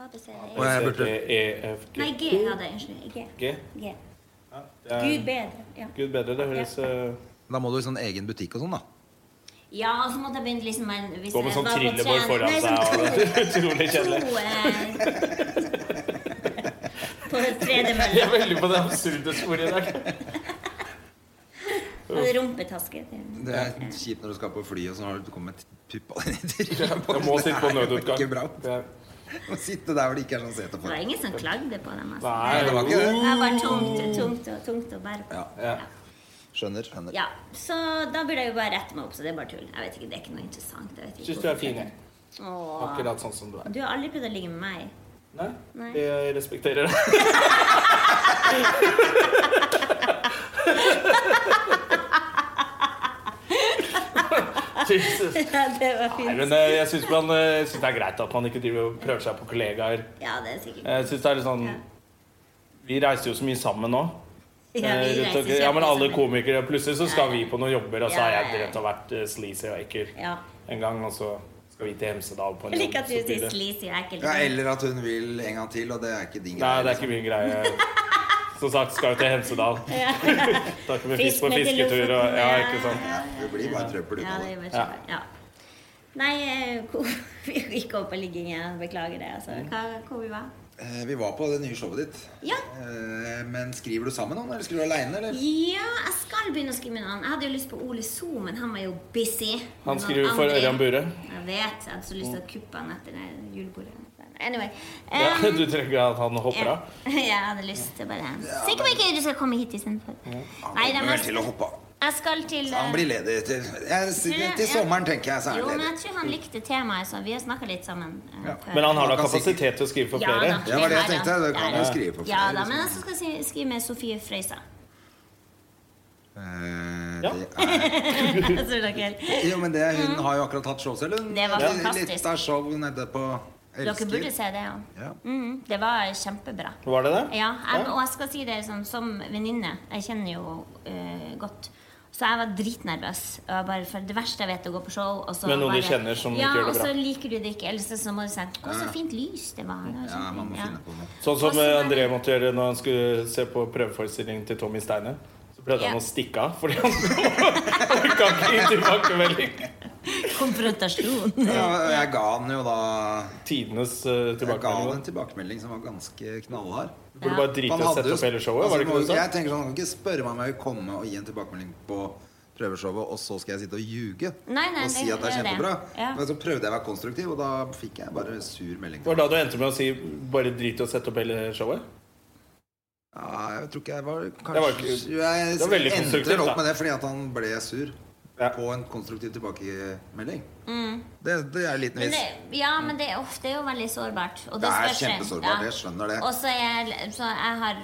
Speaker 3: A, B, C,
Speaker 2: Og
Speaker 3: D, E.
Speaker 2: jeg
Speaker 1: C,
Speaker 2: burde
Speaker 1: D, E, F, G.
Speaker 3: Nei, G hadde jeg. Unnskyld. G.
Speaker 1: G.
Speaker 3: G.
Speaker 1: Ja, det er-
Speaker 3: Gud bedre. Ja.
Speaker 1: Eh, Gud bedre, det høres eh,
Speaker 2: Da må du i sånn egen butikk og sånn, da.
Speaker 3: ja, og så måtte jeg begynne liksom en, hvis
Speaker 1: Gå med
Speaker 3: jeg
Speaker 1: sånn
Speaker 3: var på
Speaker 1: trillebår
Speaker 3: trening-
Speaker 1: foran
Speaker 3: Nei,
Speaker 1: seg.
Speaker 3: sånn-
Speaker 1: og det er Utrolig kjedelig.
Speaker 3: To, eh, På tredje
Speaker 1: Jeg
Speaker 3: mølle.
Speaker 1: er veldig på det absurde sporet i dag.
Speaker 3: Hadde rumpetaske.
Speaker 2: Det er kjipt når du skal på fly, og så har du kommet puppa di i trillebår.
Speaker 1: Jeg må
Speaker 2: Det
Speaker 1: sitte på
Speaker 2: er jo
Speaker 1: nødutgang.
Speaker 2: Ikke bra.
Speaker 1: Det er-
Speaker 2: Å sitte der hvor det ikke er sånn sete
Speaker 3: Det var
Speaker 2: for.
Speaker 3: ingen som klagde på dem. Altså.
Speaker 1: Nei,
Speaker 2: det var ikke det.
Speaker 3: Det var bare tungt, tungt, og, tungt å bære på.
Speaker 2: Ja.
Speaker 1: Ja.
Speaker 2: Skjønner. skjønner.
Speaker 3: Ja, Så da burde jeg jo bare rette meg opp, så det er bare tull. Jeg vet ikke, Det er ikke noe interessant. Jeg vet ikke
Speaker 1: Syns du er fin, jeg.
Speaker 3: Åh.
Speaker 1: Akkurat sånn som du er.
Speaker 3: Du har aldri prøvd å ligge med meg.
Speaker 1: Nei,
Speaker 3: Nei.
Speaker 1: jeg respekterer det. Jesus.
Speaker 3: Ja, det var
Speaker 1: Nei,
Speaker 3: fint.
Speaker 1: men eh, jeg syns det er greit at man ikke driver og prøver seg på kollegaer.
Speaker 3: Ja, det er sikkert.
Speaker 1: Jeg synes det er litt sånn
Speaker 3: Ja.
Speaker 1: Vi reiser jo så mye sammen nå.
Speaker 3: Ja,
Speaker 1: Eh,
Speaker 3: vi
Speaker 1: rundt
Speaker 3: reiser
Speaker 1: omkring. ja, men
Speaker 3: kjempe
Speaker 1: alle
Speaker 3: sammen.
Speaker 1: komikere Plutselig så skal vi på noen jobber, og så
Speaker 3: Ja,
Speaker 1: har
Speaker 3: ja,
Speaker 1: jeg
Speaker 3: ja.
Speaker 1: rett og vært eh, sleazy og ekkel
Speaker 3: Ja.
Speaker 1: en gang, og så skal vi til Hemsedal på en
Speaker 3: Jeg liker at
Speaker 1: jobb, så blir
Speaker 3: du sier
Speaker 1: det-
Speaker 3: liksom. sleazy og ekkel.
Speaker 2: Ja, eller at hun vil en gang til, og det er ikke din
Speaker 1: Nei, det er
Speaker 2: liksom.
Speaker 1: ikke min greie. Som sagt, skal jo til Hemsedal. Takk med fisk på
Speaker 3: med til
Speaker 1: fisketur
Speaker 3: Lofoten,
Speaker 1: og Ja,
Speaker 3: ja.
Speaker 1: ikke sant.
Speaker 2: liksom. Ja, det blir bare trøbbel
Speaker 3: Ja, det
Speaker 2: utover.
Speaker 3: gjør jeg
Speaker 1: Ja.
Speaker 3: selv. Ja. Nei, eh, hvor- vi gikk over på liggingen. Beklager det. altså.
Speaker 1: Mm.
Speaker 3: Hva, hvor vi var
Speaker 2: Eh, Vi var på det nye showet ditt.
Speaker 3: Ja.
Speaker 2: Eh, Men skriver du sammen noen, eller skriver du aleine, eller?
Speaker 3: Ja, jeg skal begynne å skrive med noen. Jeg hadde jo lyst på Ole So, men han var jo busy.
Speaker 1: Han
Speaker 3: Med
Speaker 1: skriver
Speaker 3: noen
Speaker 1: for
Speaker 3: andre.
Speaker 1: Ørjan Bure.
Speaker 3: Jeg vet. Jeg hadde så lyst til å kuppe han etter det julebordet. Anyway.
Speaker 1: Ja,
Speaker 3: em,
Speaker 1: du trenger ikke at han hopper
Speaker 3: ja.
Speaker 1: av?
Speaker 3: Jeg hadde lyst til bare Sikker på ikke du skal komme hit istedenfor. Nei,
Speaker 2: Han
Speaker 3: da,
Speaker 2: kommer vel til å
Speaker 3: men
Speaker 2: hoppe av.
Speaker 3: jeg skal til
Speaker 2: Han blir ledig til, jeg,
Speaker 3: Ja,
Speaker 2: til
Speaker 3: ja.
Speaker 2: sommeren, tenker jeg. Så er
Speaker 3: Jo,
Speaker 2: han
Speaker 3: men
Speaker 2: ledig.
Speaker 3: jeg tror han likte temaet, så vi har snakka litt sammen. eh, før.
Speaker 1: Men han har da
Speaker 2: Han kan
Speaker 1: kapasitet til å skrive for
Speaker 3: Ja,
Speaker 1: flere?
Speaker 3: da.
Speaker 2: Ja, det var det jeg
Speaker 3: Her,
Speaker 2: tenkte.
Speaker 3: da.
Speaker 2: Det kan
Speaker 3: Ja,
Speaker 2: jo
Speaker 3: ja.
Speaker 2: skrive for
Speaker 3: Ja
Speaker 2: flere,
Speaker 3: da,
Speaker 2: liksom.
Speaker 3: men jeg skal si- skrive med Sofie Frøysa.
Speaker 2: Eh,
Speaker 1: Ja.
Speaker 2: det
Speaker 3: Jeg tror dere-
Speaker 2: er, jo, men det, hun har jo akkurat hatt show selv, hun.
Speaker 3: Mm. Det var
Speaker 2: Litt-
Speaker 3: fantastisk.
Speaker 2: Litt av show nede på Elsker.
Speaker 3: Dere burde se det, ja.
Speaker 2: Ja.
Speaker 3: Mhm, det var kjempebra.
Speaker 1: Var det det?
Speaker 3: Ja, jeg, og jeg skal si det liksom, som venninne. Jeg kjenner jo eh, godt. Så jeg var dritnervøs. Og jeg bare, for det verste jeg vet, er å gå på show. Og så
Speaker 1: Med noen du
Speaker 3: bare,
Speaker 1: kjenner som
Speaker 3: ja,
Speaker 1: ikke gjør det
Speaker 3: Ja,
Speaker 1: bra.
Speaker 3: og så liker du det ikke. Ellers så må du si 'Å, så fint lys det var'. Det var
Speaker 2: Ja, man må
Speaker 3: kjempefint», ja.
Speaker 2: finne på noe.
Speaker 1: Sånn som
Speaker 3: Og så
Speaker 1: eh,
Speaker 3: var
Speaker 1: André
Speaker 3: det-
Speaker 1: måtte gjøre når han skulle se på prøveforestillingen til Tommy Steine. Så prøvde han
Speaker 3: Ja.
Speaker 1: å stikke av fordi han orka ikke gi tilbakemelding.
Speaker 3: Konfrontasjon.
Speaker 2: Ja, jeg ga han jo da
Speaker 1: Tidenes eh,
Speaker 2: Jeg ga han en
Speaker 1: tilbakemelding.
Speaker 2: tilbakemelding som var ganske knallhard.
Speaker 1: Du burde bare drite i
Speaker 2: Han
Speaker 1: å
Speaker 2: hadde
Speaker 1: sette
Speaker 2: jo-
Speaker 1: opp hele showet.
Speaker 2: altså,
Speaker 1: var det
Speaker 2: må
Speaker 1: ikke det du
Speaker 2: jo-
Speaker 1: sa?
Speaker 2: Jeg tenker sånn, Han kan ikke spørre meg om jeg vil komme og gi en tilbakemelding på prøveshowet, og så skal jeg sitte og ljuge
Speaker 3: Nei, nei,
Speaker 2: og si
Speaker 3: det-
Speaker 2: at det er
Speaker 3: det er det.
Speaker 2: kjempebra.
Speaker 3: Ja.
Speaker 2: Men så prøvde jeg å være konstruktiv, og da fikk jeg bare sur melding.
Speaker 1: Det var da du endte med å si 'bare drit i å sette opp hele showet'?
Speaker 2: Ja, jeg tror ikke jeg var kanskje,
Speaker 1: var ikke-
Speaker 2: Jeg
Speaker 1: det var veldig konstruktivt,
Speaker 2: endte opp
Speaker 1: da.
Speaker 2: med det fordi at han ble sur
Speaker 1: Ja.
Speaker 2: på en konstruktiv tilbakemelding. Det, det er en liten
Speaker 3: Mm. Men
Speaker 2: vits.
Speaker 3: det, ja, men det, uff, det er jo veldig sårbart. Og det,
Speaker 2: Det er
Speaker 3: spørs-
Speaker 2: kjempesårbart, jeg skjønner det.
Speaker 3: Og så er jeg, så jeg har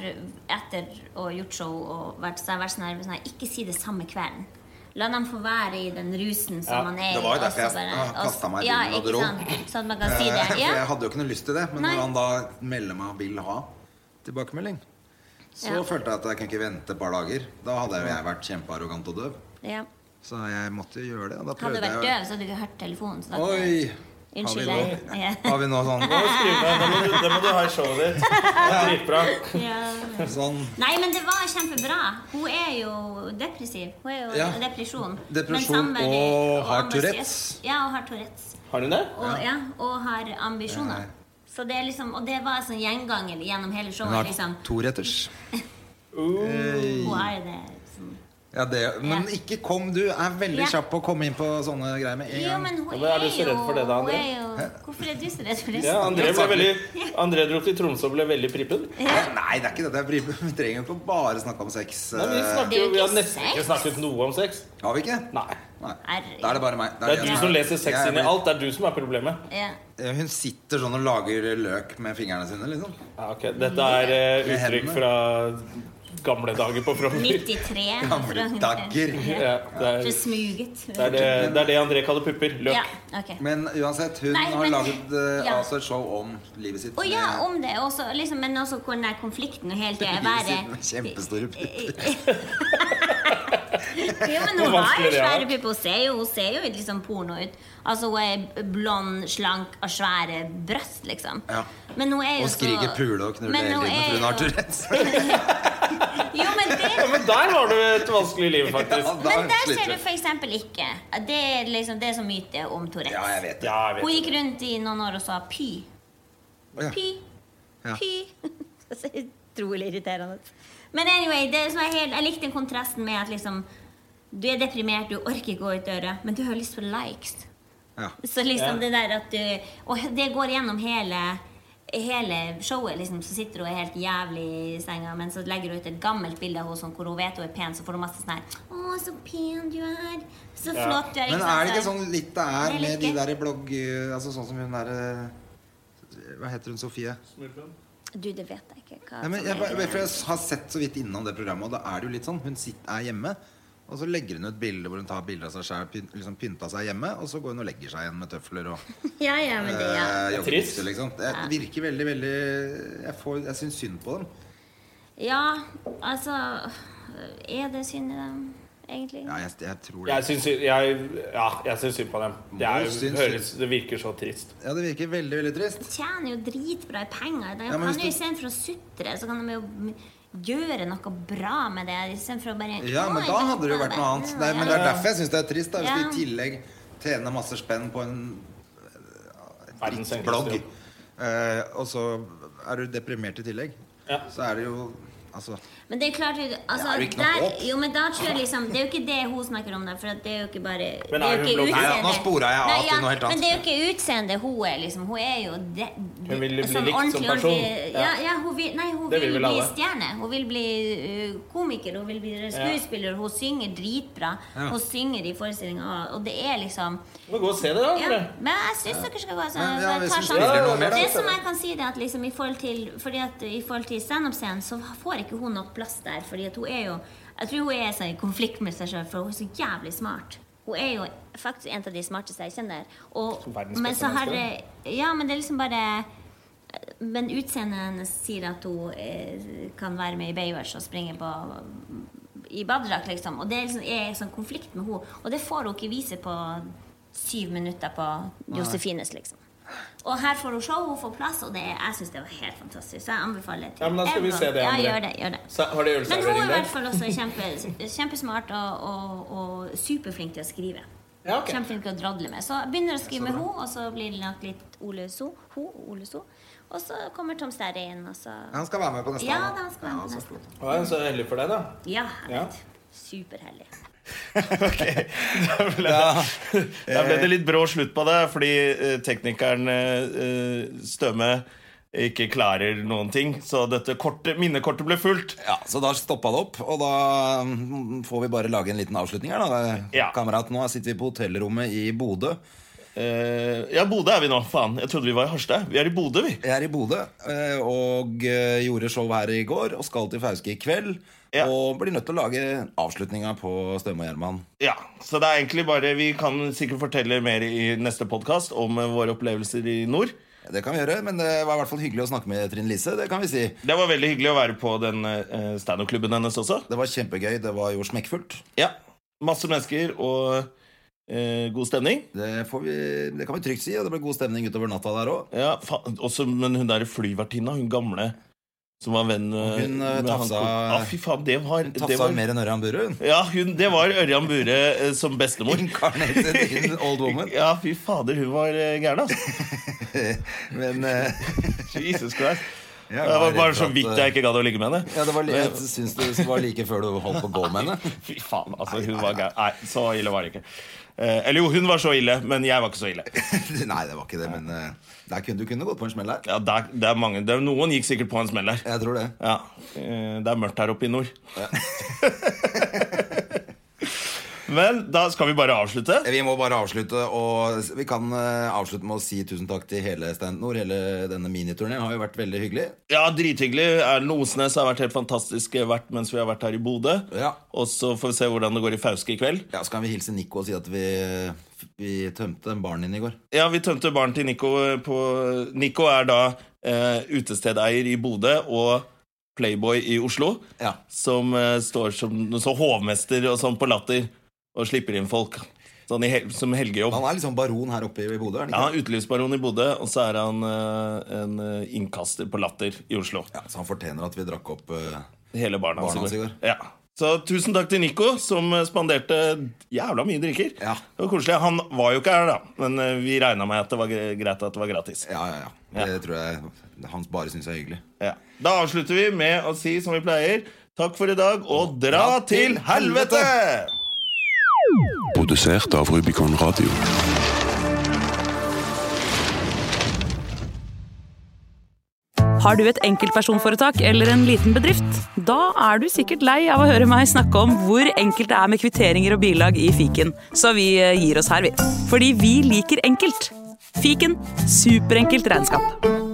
Speaker 3: etter å ha gjort show og vært, så har jeg vært sånn her sånn her, Ikke si det samme kvelden. La dem få være i den rusen som
Speaker 1: Ja,
Speaker 3: man er i.
Speaker 2: det var jo
Speaker 3: og
Speaker 2: derfor jeg
Speaker 3: så bare-
Speaker 2: ah, kastet meg i
Speaker 3: ja,
Speaker 2: bilen og
Speaker 3: ikke
Speaker 2: dro.
Speaker 3: sant? Sånn at man kan si
Speaker 2: Eh,
Speaker 3: det.
Speaker 2: For
Speaker 3: Ja.
Speaker 2: jeg hadde jo ikke noe lyst til det. Men
Speaker 3: Nei.
Speaker 2: når han da melder meg og vil ha tilbakemelding, så
Speaker 3: Ja.
Speaker 2: følte jeg at jeg kunne ikke vente et par dager. Da hadde jo jeg vært kjempearrogant og døv.
Speaker 3: ja.
Speaker 2: Så jeg måtte jo gjøre det. Og da
Speaker 3: Hadde
Speaker 2: prøvde
Speaker 3: du
Speaker 2: jeg
Speaker 3: vært døv, så hadde du ikke hørt telefonen. Så da kunne-
Speaker 2: Oi!
Speaker 3: Unnskyld,
Speaker 2: har vi nå,
Speaker 3: jeg-
Speaker 2: har vi nå
Speaker 1: Da
Speaker 2: sånn,
Speaker 1: må du skrive ned. Da må du- da må du ha i showet ditt. Det er dritbra.
Speaker 3: ja.
Speaker 2: sånn
Speaker 3: Nei, men det var kjempebra. Hun er jo depressiv. Hun er jo
Speaker 2: Ja.
Speaker 3: depresjon.
Speaker 2: Depresjon
Speaker 3: Men samtidig-
Speaker 2: og har
Speaker 3: ambisiøs.
Speaker 2: Tourettes.
Speaker 3: Ja, og har Tourettes.
Speaker 1: Har hun det?
Speaker 3: Og, ja. og har ambisjoner.
Speaker 2: Ja.
Speaker 3: Så det er liksom, og det var en sånn gjenganger gjennom hele
Speaker 2: Hun
Speaker 3: showet.
Speaker 2: har
Speaker 3: liksom.
Speaker 2: toretters.
Speaker 1: Uh,
Speaker 3: Hun er det sånn. som...
Speaker 2: Ja, det, men
Speaker 3: Ja.
Speaker 2: ikke kom du. Er veldig
Speaker 3: Ja.
Speaker 2: kjapp på å komme inn på sånne greier med en
Speaker 3: Jo,
Speaker 2: gang.
Speaker 3: men hun
Speaker 1: Ja, men er du så redd for det da,
Speaker 3: hun
Speaker 1: André?
Speaker 3: er jo Hvorfor er du så redd for det?
Speaker 1: Ja, André, ble veldig, André dro til Tromsø og ble veldig prippen.
Speaker 2: Eh, Nei, det er ikke det. det er bry- Vi trenger jo ikke å bare snakke om sex.
Speaker 1: Nei, vi,
Speaker 2: eh,
Speaker 1: snakker,
Speaker 3: Det er
Speaker 1: jo-
Speaker 3: jo
Speaker 1: vi har
Speaker 3: ikke
Speaker 1: nesten ikke
Speaker 3: sex.
Speaker 1: snakket noe om sex.
Speaker 2: Har vi ikke?
Speaker 1: Nei.
Speaker 2: Nei.
Speaker 3: Herregud.
Speaker 2: Da er det bare meg.
Speaker 1: Det er du som leser sex
Speaker 2: Jeg
Speaker 1: inn i
Speaker 2: blir-
Speaker 1: alt. Det er du som er problemet.
Speaker 3: Ja.
Speaker 2: Ja, Hun sitter sånn og lager løk med fingrene sine, liksom.
Speaker 1: Ja, ok. Dette er eh,
Speaker 2: Med
Speaker 1: uttrykk
Speaker 2: hendene.
Speaker 1: fra gamle dager på Frogner.
Speaker 3: 93.
Speaker 2: Gamle
Speaker 3: fra-
Speaker 2: dagger.
Speaker 1: Ja, det, er,
Speaker 3: Så smuget.
Speaker 1: det, er det, det er det André kaller pupper.
Speaker 3: Ja,
Speaker 1: Løk.
Speaker 3: ok.
Speaker 2: Men uansett, hun
Speaker 3: Nei,
Speaker 2: har
Speaker 3: men-
Speaker 2: laget eh,
Speaker 3: Ja.
Speaker 2: altså et show om livet sitt.
Speaker 3: Å ja,
Speaker 2: med-
Speaker 3: om det. Også, liksom, men også hvor den der konflikten og hele tida være Eh,
Speaker 2: Livet sitt med kjempestore pupper.
Speaker 3: Jo, men
Speaker 1: Hvor
Speaker 3: hun har
Speaker 1: vanskelig
Speaker 3: jo
Speaker 1: det er.
Speaker 3: svære pupper. Hun ser jo, hun ser jo litt liksom porno ut. Altså, Hun er blond, slank og svære bryst, liksom.
Speaker 2: Ja.
Speaker 3: Men hun er jo
Speaker 2: Og skriker
Speaker 3: så...
Speaker 2: pule og knuller
Speaker 3: Men
Speaker 2: hele
Speaker 3: hun
Speaker 2: tiden, for
Speaker 3: er
Speaker 2: hun har
Speaker 3: jo-
Speaker 2: Tourettes.
Speaker 3: Jo, men det
Speaker 1: Men der har du et vanskelig liv,
Speaker 2: Ja,
Speaker 1: faktisk.
Speaker 2: da
Speaker 3: men der
Speaker 2: sliter
Speaker 3: ser du
Speaker 2: hun.
Speaker 3: f.eks. ikke. Det er liksom det som myte om Tourettes.
Speaker 2: Ja, jeg vet det.
Speaker 1: Ja, jeg
Speaker 3: Hun
Speaker 1: vet.
Speaker 3: gikk rundt i noen år og sa py.
Speaker 2: Å, ja.
Speaker 3: Py.
Speaker 2: Ja.
Speaker 3: Py. Så utrolig irriterende. Men anyway, det som er helt, jeg likte den kontrasten med at liksom du er deprimert, du orker ikke gå ut døra, men du har lyst på likes.
Speaker 2: Ja.
Speaker 3: Så liksom
Speaker 1: Ja.
Speaker 3: det der at du Og det går gjennom hele Hele showet liksom, så sitter hun helt jævlig i senga, men så legger hun ut et gammelt bilde av henne sånn, hvor hun vet hun er pen, så får hun masse sånn her Å, så pen du er. Så flott du er.
Speaker 2: Men
Speaker 3: sant,
Speaker 2: er det ikke
Speaker 3: så-
Speaker 2: sånn litt det er
Speaker 3: Eller
Speaker 2: med de
Speaker 3: ikke.
Speaker 2: der i blogg... eh, Altså sånn som hun der eh, Hva heter hun? Sofie?
Speaker 3: Du, det vet jeg ikke. Hva
Speaker 2: Nei, men
Speaker 3: som
Speaker 2: jeg,
Speaker 3: er
Speaker 2: bare-
Speaker 3: greia.
Speaker 2: for jeg har sett så vidt innom det programmet, og da er det jo litt sånn. Hun sitt- er hjemme, og så legger hun ut bilder hvor hun tar bilder av seg sjøl, pyn, liksom pynta seg hjemme, og så går hun og legger seg igjen med tøfler og
Speaker 3: Ja, ja, men det, ja.
Speaker 2: eh,
Speaker 1: Trist.
Speaker 2: joggebukser, liksom. Det virker veldig, veldig Jeg, får- jeg syns synd på dem.
Speaker 3: Ja, altså Er det synd i dem, egentlig?
Speaker 2: Ja, jeg, jeg tror det.
Speaker 1: Jeg syns jeg, ja, jeg syns synd på dem. Det, er,
Speaker 2: Må
Speaker 1: jo-
Speaker 2: synes
Speaker 1: høres, det virker så trist.
Speaker 2: Ja, det virker veldig, veldig trist.
Speaker 3: De tjener jo dritbra i penger. De
Speaker 2: Ja, men
Speaker 3: kan
Speaker 2: hvis
Speaker 3: jo
Speaker 2: du-
Speaker 3: Istedenfor å sutre, så kan de jo gjøre noe bra med det. Istedenfor å bare
Speaker 2: Ja, men
Speaker 3: «Oi,
Speaker 2: da hadde det jo
Speaker 3: dette
Speaker 2: vært noe
Speaker 3: var-
Speaker 2: annet.
Speaker 3: Ja,
Speaker 2: Det er, men det er derfor jeg syns det er trist. Da, hvis du
Speaker 3: Ja.
Speaker 2: i tillegg tjener masse spenn på en
Speaker 1: Verdens enkleste
Speaker 2: blogg,
Speaker 1: jobb.
Speaker 2: eh, og så er du deprimert i tillegg,
Speaker 1: Ja.
Speaker 2: så er det jo Altså
Speaker 3: Men det er klart altså,
Speaker 2: Det er jo ikke noe
Speaker 3: der,
Speaker 2: håp.
Speaker 3: Jo, men da tror jeg liksom Det er jo ikke det hun snakker om, da. For at det er jo ikke bare
Speaker 1: Men er
Speaker 3: det jo
Speaker 1: hun
Speaker 3: ikke
Speaker 1: blogger?
Speaker 2: Nei, ja, nå sporet jeg av
Speaker 3: Nei,
Speaker 2: til noe helt annet.
Speaker 3: Men det er jo ikke utseendet hun er, liksom. Hun er jo det,
Speaker 1: Hun vil bli
Speaker 3: sånn
Speaker 1: likt som
Speaker 3: ordentlig,
Speaker 1: person.
Speaker 3: ordentlig- Ja, ja, hun vil, nei, hun
Speaker 1: Det
Speaker 3: vil,
Speaker 1: vil vel
Speaker 3: bli
Speaker 1: alle.
Speaker 3: stjerne. Hun vil bli ø, komiker, hun vil bli skuespiller. Hun synger dritbra.
Speaker 2: Ja.
Speaker 3: Hun synger i forestillinga, og det er liksom
Speaker 1: Du må gå og se det, da.
Speaker 3: ja,
Speaker 1: André.
Speaker 3: men jeg syns dere skal gå altså,
Speaker 2: Men, ja,
Speaker 3: bare
Speaker 2: hvis
Speaker 3: ta
Speaker 2: vi
Speaker 3: sjansen.
Speaker 1: spiller noe mer, da,
Speaker 3: Det
Speaker 1: så-
Speaker 3: som jeg kan si, det er at liksom i forhold til Fordi at i forhold til standup-scenen, så får ikke hun nok plass der. Fordi at hun er jo Jeg tror hun er sånn i konflikt med seg sjøl, for hun er så jævlig smart. Hun er jo faktisk en av de smarteste jeg kjenner. Og,
Speaker 4: Verdens
Speaker 3: men
Speaker 4: beste
Speaker 3: så har
Speaker 4: menneske,
Speaker 3: Ja, men det er liksom bare Men utseendet hennes sier at hun eh, kan være med i Baywatch og springe på i badedrakt, liksom. Og det er liksom, er en sånn konflikt med henne. Og det får hun ikke vise på syv minutter på Josefines, liksom. Og her får hun show, hun får plass, og det er, jeg syns det var helt fantastisk. Så jeg anbefaler til
Speaker 4: Ja, men da skal vi se det,
Speaker 3: Ja,
Speaker 4: André.
Speaker 3: gjør det, gjør det.
Speaker 4: Sa- har de
Speaker 3: Men hun er
Speaker 4: ølservering
Speaker 3: i
Speaker 4: der?
Speaker 3: hvert fall også kjempe, kjempesmart og, og, og superflink til å skrive.
Speaker 4: Ja, ok.
Speaker 3: Kjempeflink til å drodle med. Så jeg begynner å skrive med henne, og så blir det nok litt Ole So. Ho, Ole so. Og så kommer Tom Sterry inn, og så
Speaker 2: Han skal være med på neste
Speaker 3: Ja,
Speaker 2: gang,
Speaker 3: da han skal være med
Speaker 2: så
Speaker 3: neste
Speaker 2: flott.
Speaker 4: Ja, jeg er så heldig for deg, da.
Speaker 3: Ja, jeg
Speaker 4: Ja.
Speaker 3: vet. Superhellig.
Speaker 4: Da ble, da ble det litt brå slutt på det, fordi eh, teknikeren eh, Støme ikke klarer noen ting. Så dette kortet, minnekortet ble fullt.
Speaker 2: Ja, Så da stoppa det opp, og da mm, får vi bare lage en liten avslutning her, da.
Speaker 4: Ja.
Speaker 2: Kamerat, nå sitter vi på hotellrommet i Bodø.
Speaker 4: Eh, ja, Bodø er vi nå. Faen, jeg trodde vi var i Harstad. Vi er i Bodø, vi.
Speaker 2: Jeg er i Bodø eh, og eh, gjorde show her i går og skal til Fauske i kveld.
Speaker 4: Ja.
Speaker 2: Og blir nødt til å lage avslutninga på Støme og Gjerman.
Speaker 4: Ja, så det er egentlig bare Vi kan sikkert fortelle mer i neste podkast om eh, våre opplevelser i nord.
Speaker 2: Det kan vi gjøre, men det var i hvert fall hyggelig å snakke med Trine Lise. Det kan vi si.
Speaker 4: Det var veldig hyggelig å være på den eh, standup-klubben hennes også.
Speaker 2: Det var kjempegøy. Det var jo smekkfullt.
Speaker 4: Ja, Masse mennesker og eh, god stemning.
Speaker 2: Det, får vi, det kan vi trygt si. Og det ble god stemning utover natta der òg.
Speaker 4: Ja, fa også, men hun der flyvertinna, hun gamle som var venn eh,
Speaker 2: Hun, eh,
Speaker 4: med han
Speaker 2: tafsa-
Speaker 4: Ko- ah, Fy faen, det var, det
Speaker 2: Tafsa
Speaker 4: var
Speaker 2: mer enn Ørjan Burund.
Speaker 4: Ja, hun, det var Ørjan Bure eh, som bestemor.
Speaker 2: Incarnated in old woman.
Speaker 4: Ja, fy fader, hun var eh, gæren, altså.
Speaker 2: Men eh,
Speaker 4: Jesus Christ.
Speaker 2: jeg
Speaker 4: det var
Speaker 2: redd
Speaker 4: bare
Speaker 2: for
Speaker 4: så
Speaker 2: at,
Speaker 4: vidt
Speaker 2: eh,
Speaker 4: jeg ikke gadd å ligge med henne.
Speaker 2: ja, det var, li- Jeg syns det var like før du holdt på å gå med henne.
Speaker 4: Fy faen, altså, hun var gæren. Nei, så ille var det ikke. Eh, eller jo, hun var så ille, men jeg var ikke så ille.
Speaker 2: Nei, det var ikke det, men eh, der kunne, du kunne gått på en smell der.
Speaker 4: Ja, det er, det er mange, det er, Noen gikk sikkert på en smell der.
Speaker 2: Jeg tror det.
Speaker 4: Ja, eh, Det er mørkt her oppe i nord. Men da skal vi bare avslutte.
Speaker 2: Vi må bare avslutte, og vi kan eh, avslutte med å si tusen takk til hele Stand Nord. Hele denne miniturneen har jo vært veldig hyggelig.
Speaker 4: Ja, Drithyggelig. Erlend Osnes har vært helt fantastisk vært mens vi har vært her i Bodø.
Speaker 2: Ja.
Speaker 4: Og så får vi se hvordan det går i Fauske i kveld.
Speaker 2: Ja, Så kan vi hilse Nico og si at vi, vi tømte baren din i går.
Speaker 4: Ja, vi tømte baren til Nico eh, på Nico er da eh, utestedeier i Bodø og Playboy i Oslo.
Speaker 2: Ja.
Speaker 4: Som eh, står som noe så hovmester og sånn på latter og slipper inn folk. Sånn i hel som helgejobb.
Speaker 2: Han er liksom baron her oppe i i Bodø? er han
Speaker 4: Ja,
Speaker 2: ikke?
Speaker 4: han er utelivsbaron i Bodø, og så er han eh, en eh, innkaster på Latter i Oslo.
Speaker 2: Ja, så han fortjener at vi drakk opp eh,
Speaker 4: Hele barna
Speaker 2: Barna
Speaker 4: hans.
Speaker 2: hans i går.
Speaker 4: Ja. Så tusen takk til Nico, som eh, spanderte jævla mye drikker.
Speaker 2: Ja.
Speaker 4: Det var koselig. Han var jo ikke her, da, men eh, vi regna med at det var gre- greit at det var gratis.
Speaker 2: Ja, ja, ja. Det tror jeg han bare syns er hyggelig.
Speaker 4: Ja. Da avslutter vi med å si som vi pleier, takk for i dag, og dra til helvete!
Speaker 5: Produsert av Rubicon Radio.
Speaker 6: Har du et enkeltpersonforetak eller en liten bedrift? Da er du sikkert lei av å høre meg snakke om hvor enkelt det er med kvitteringer og bilag i fiken, så vi eh, gir oss her, vi. Fordi vi liker enkelt. Fiken superenkelt regnskap.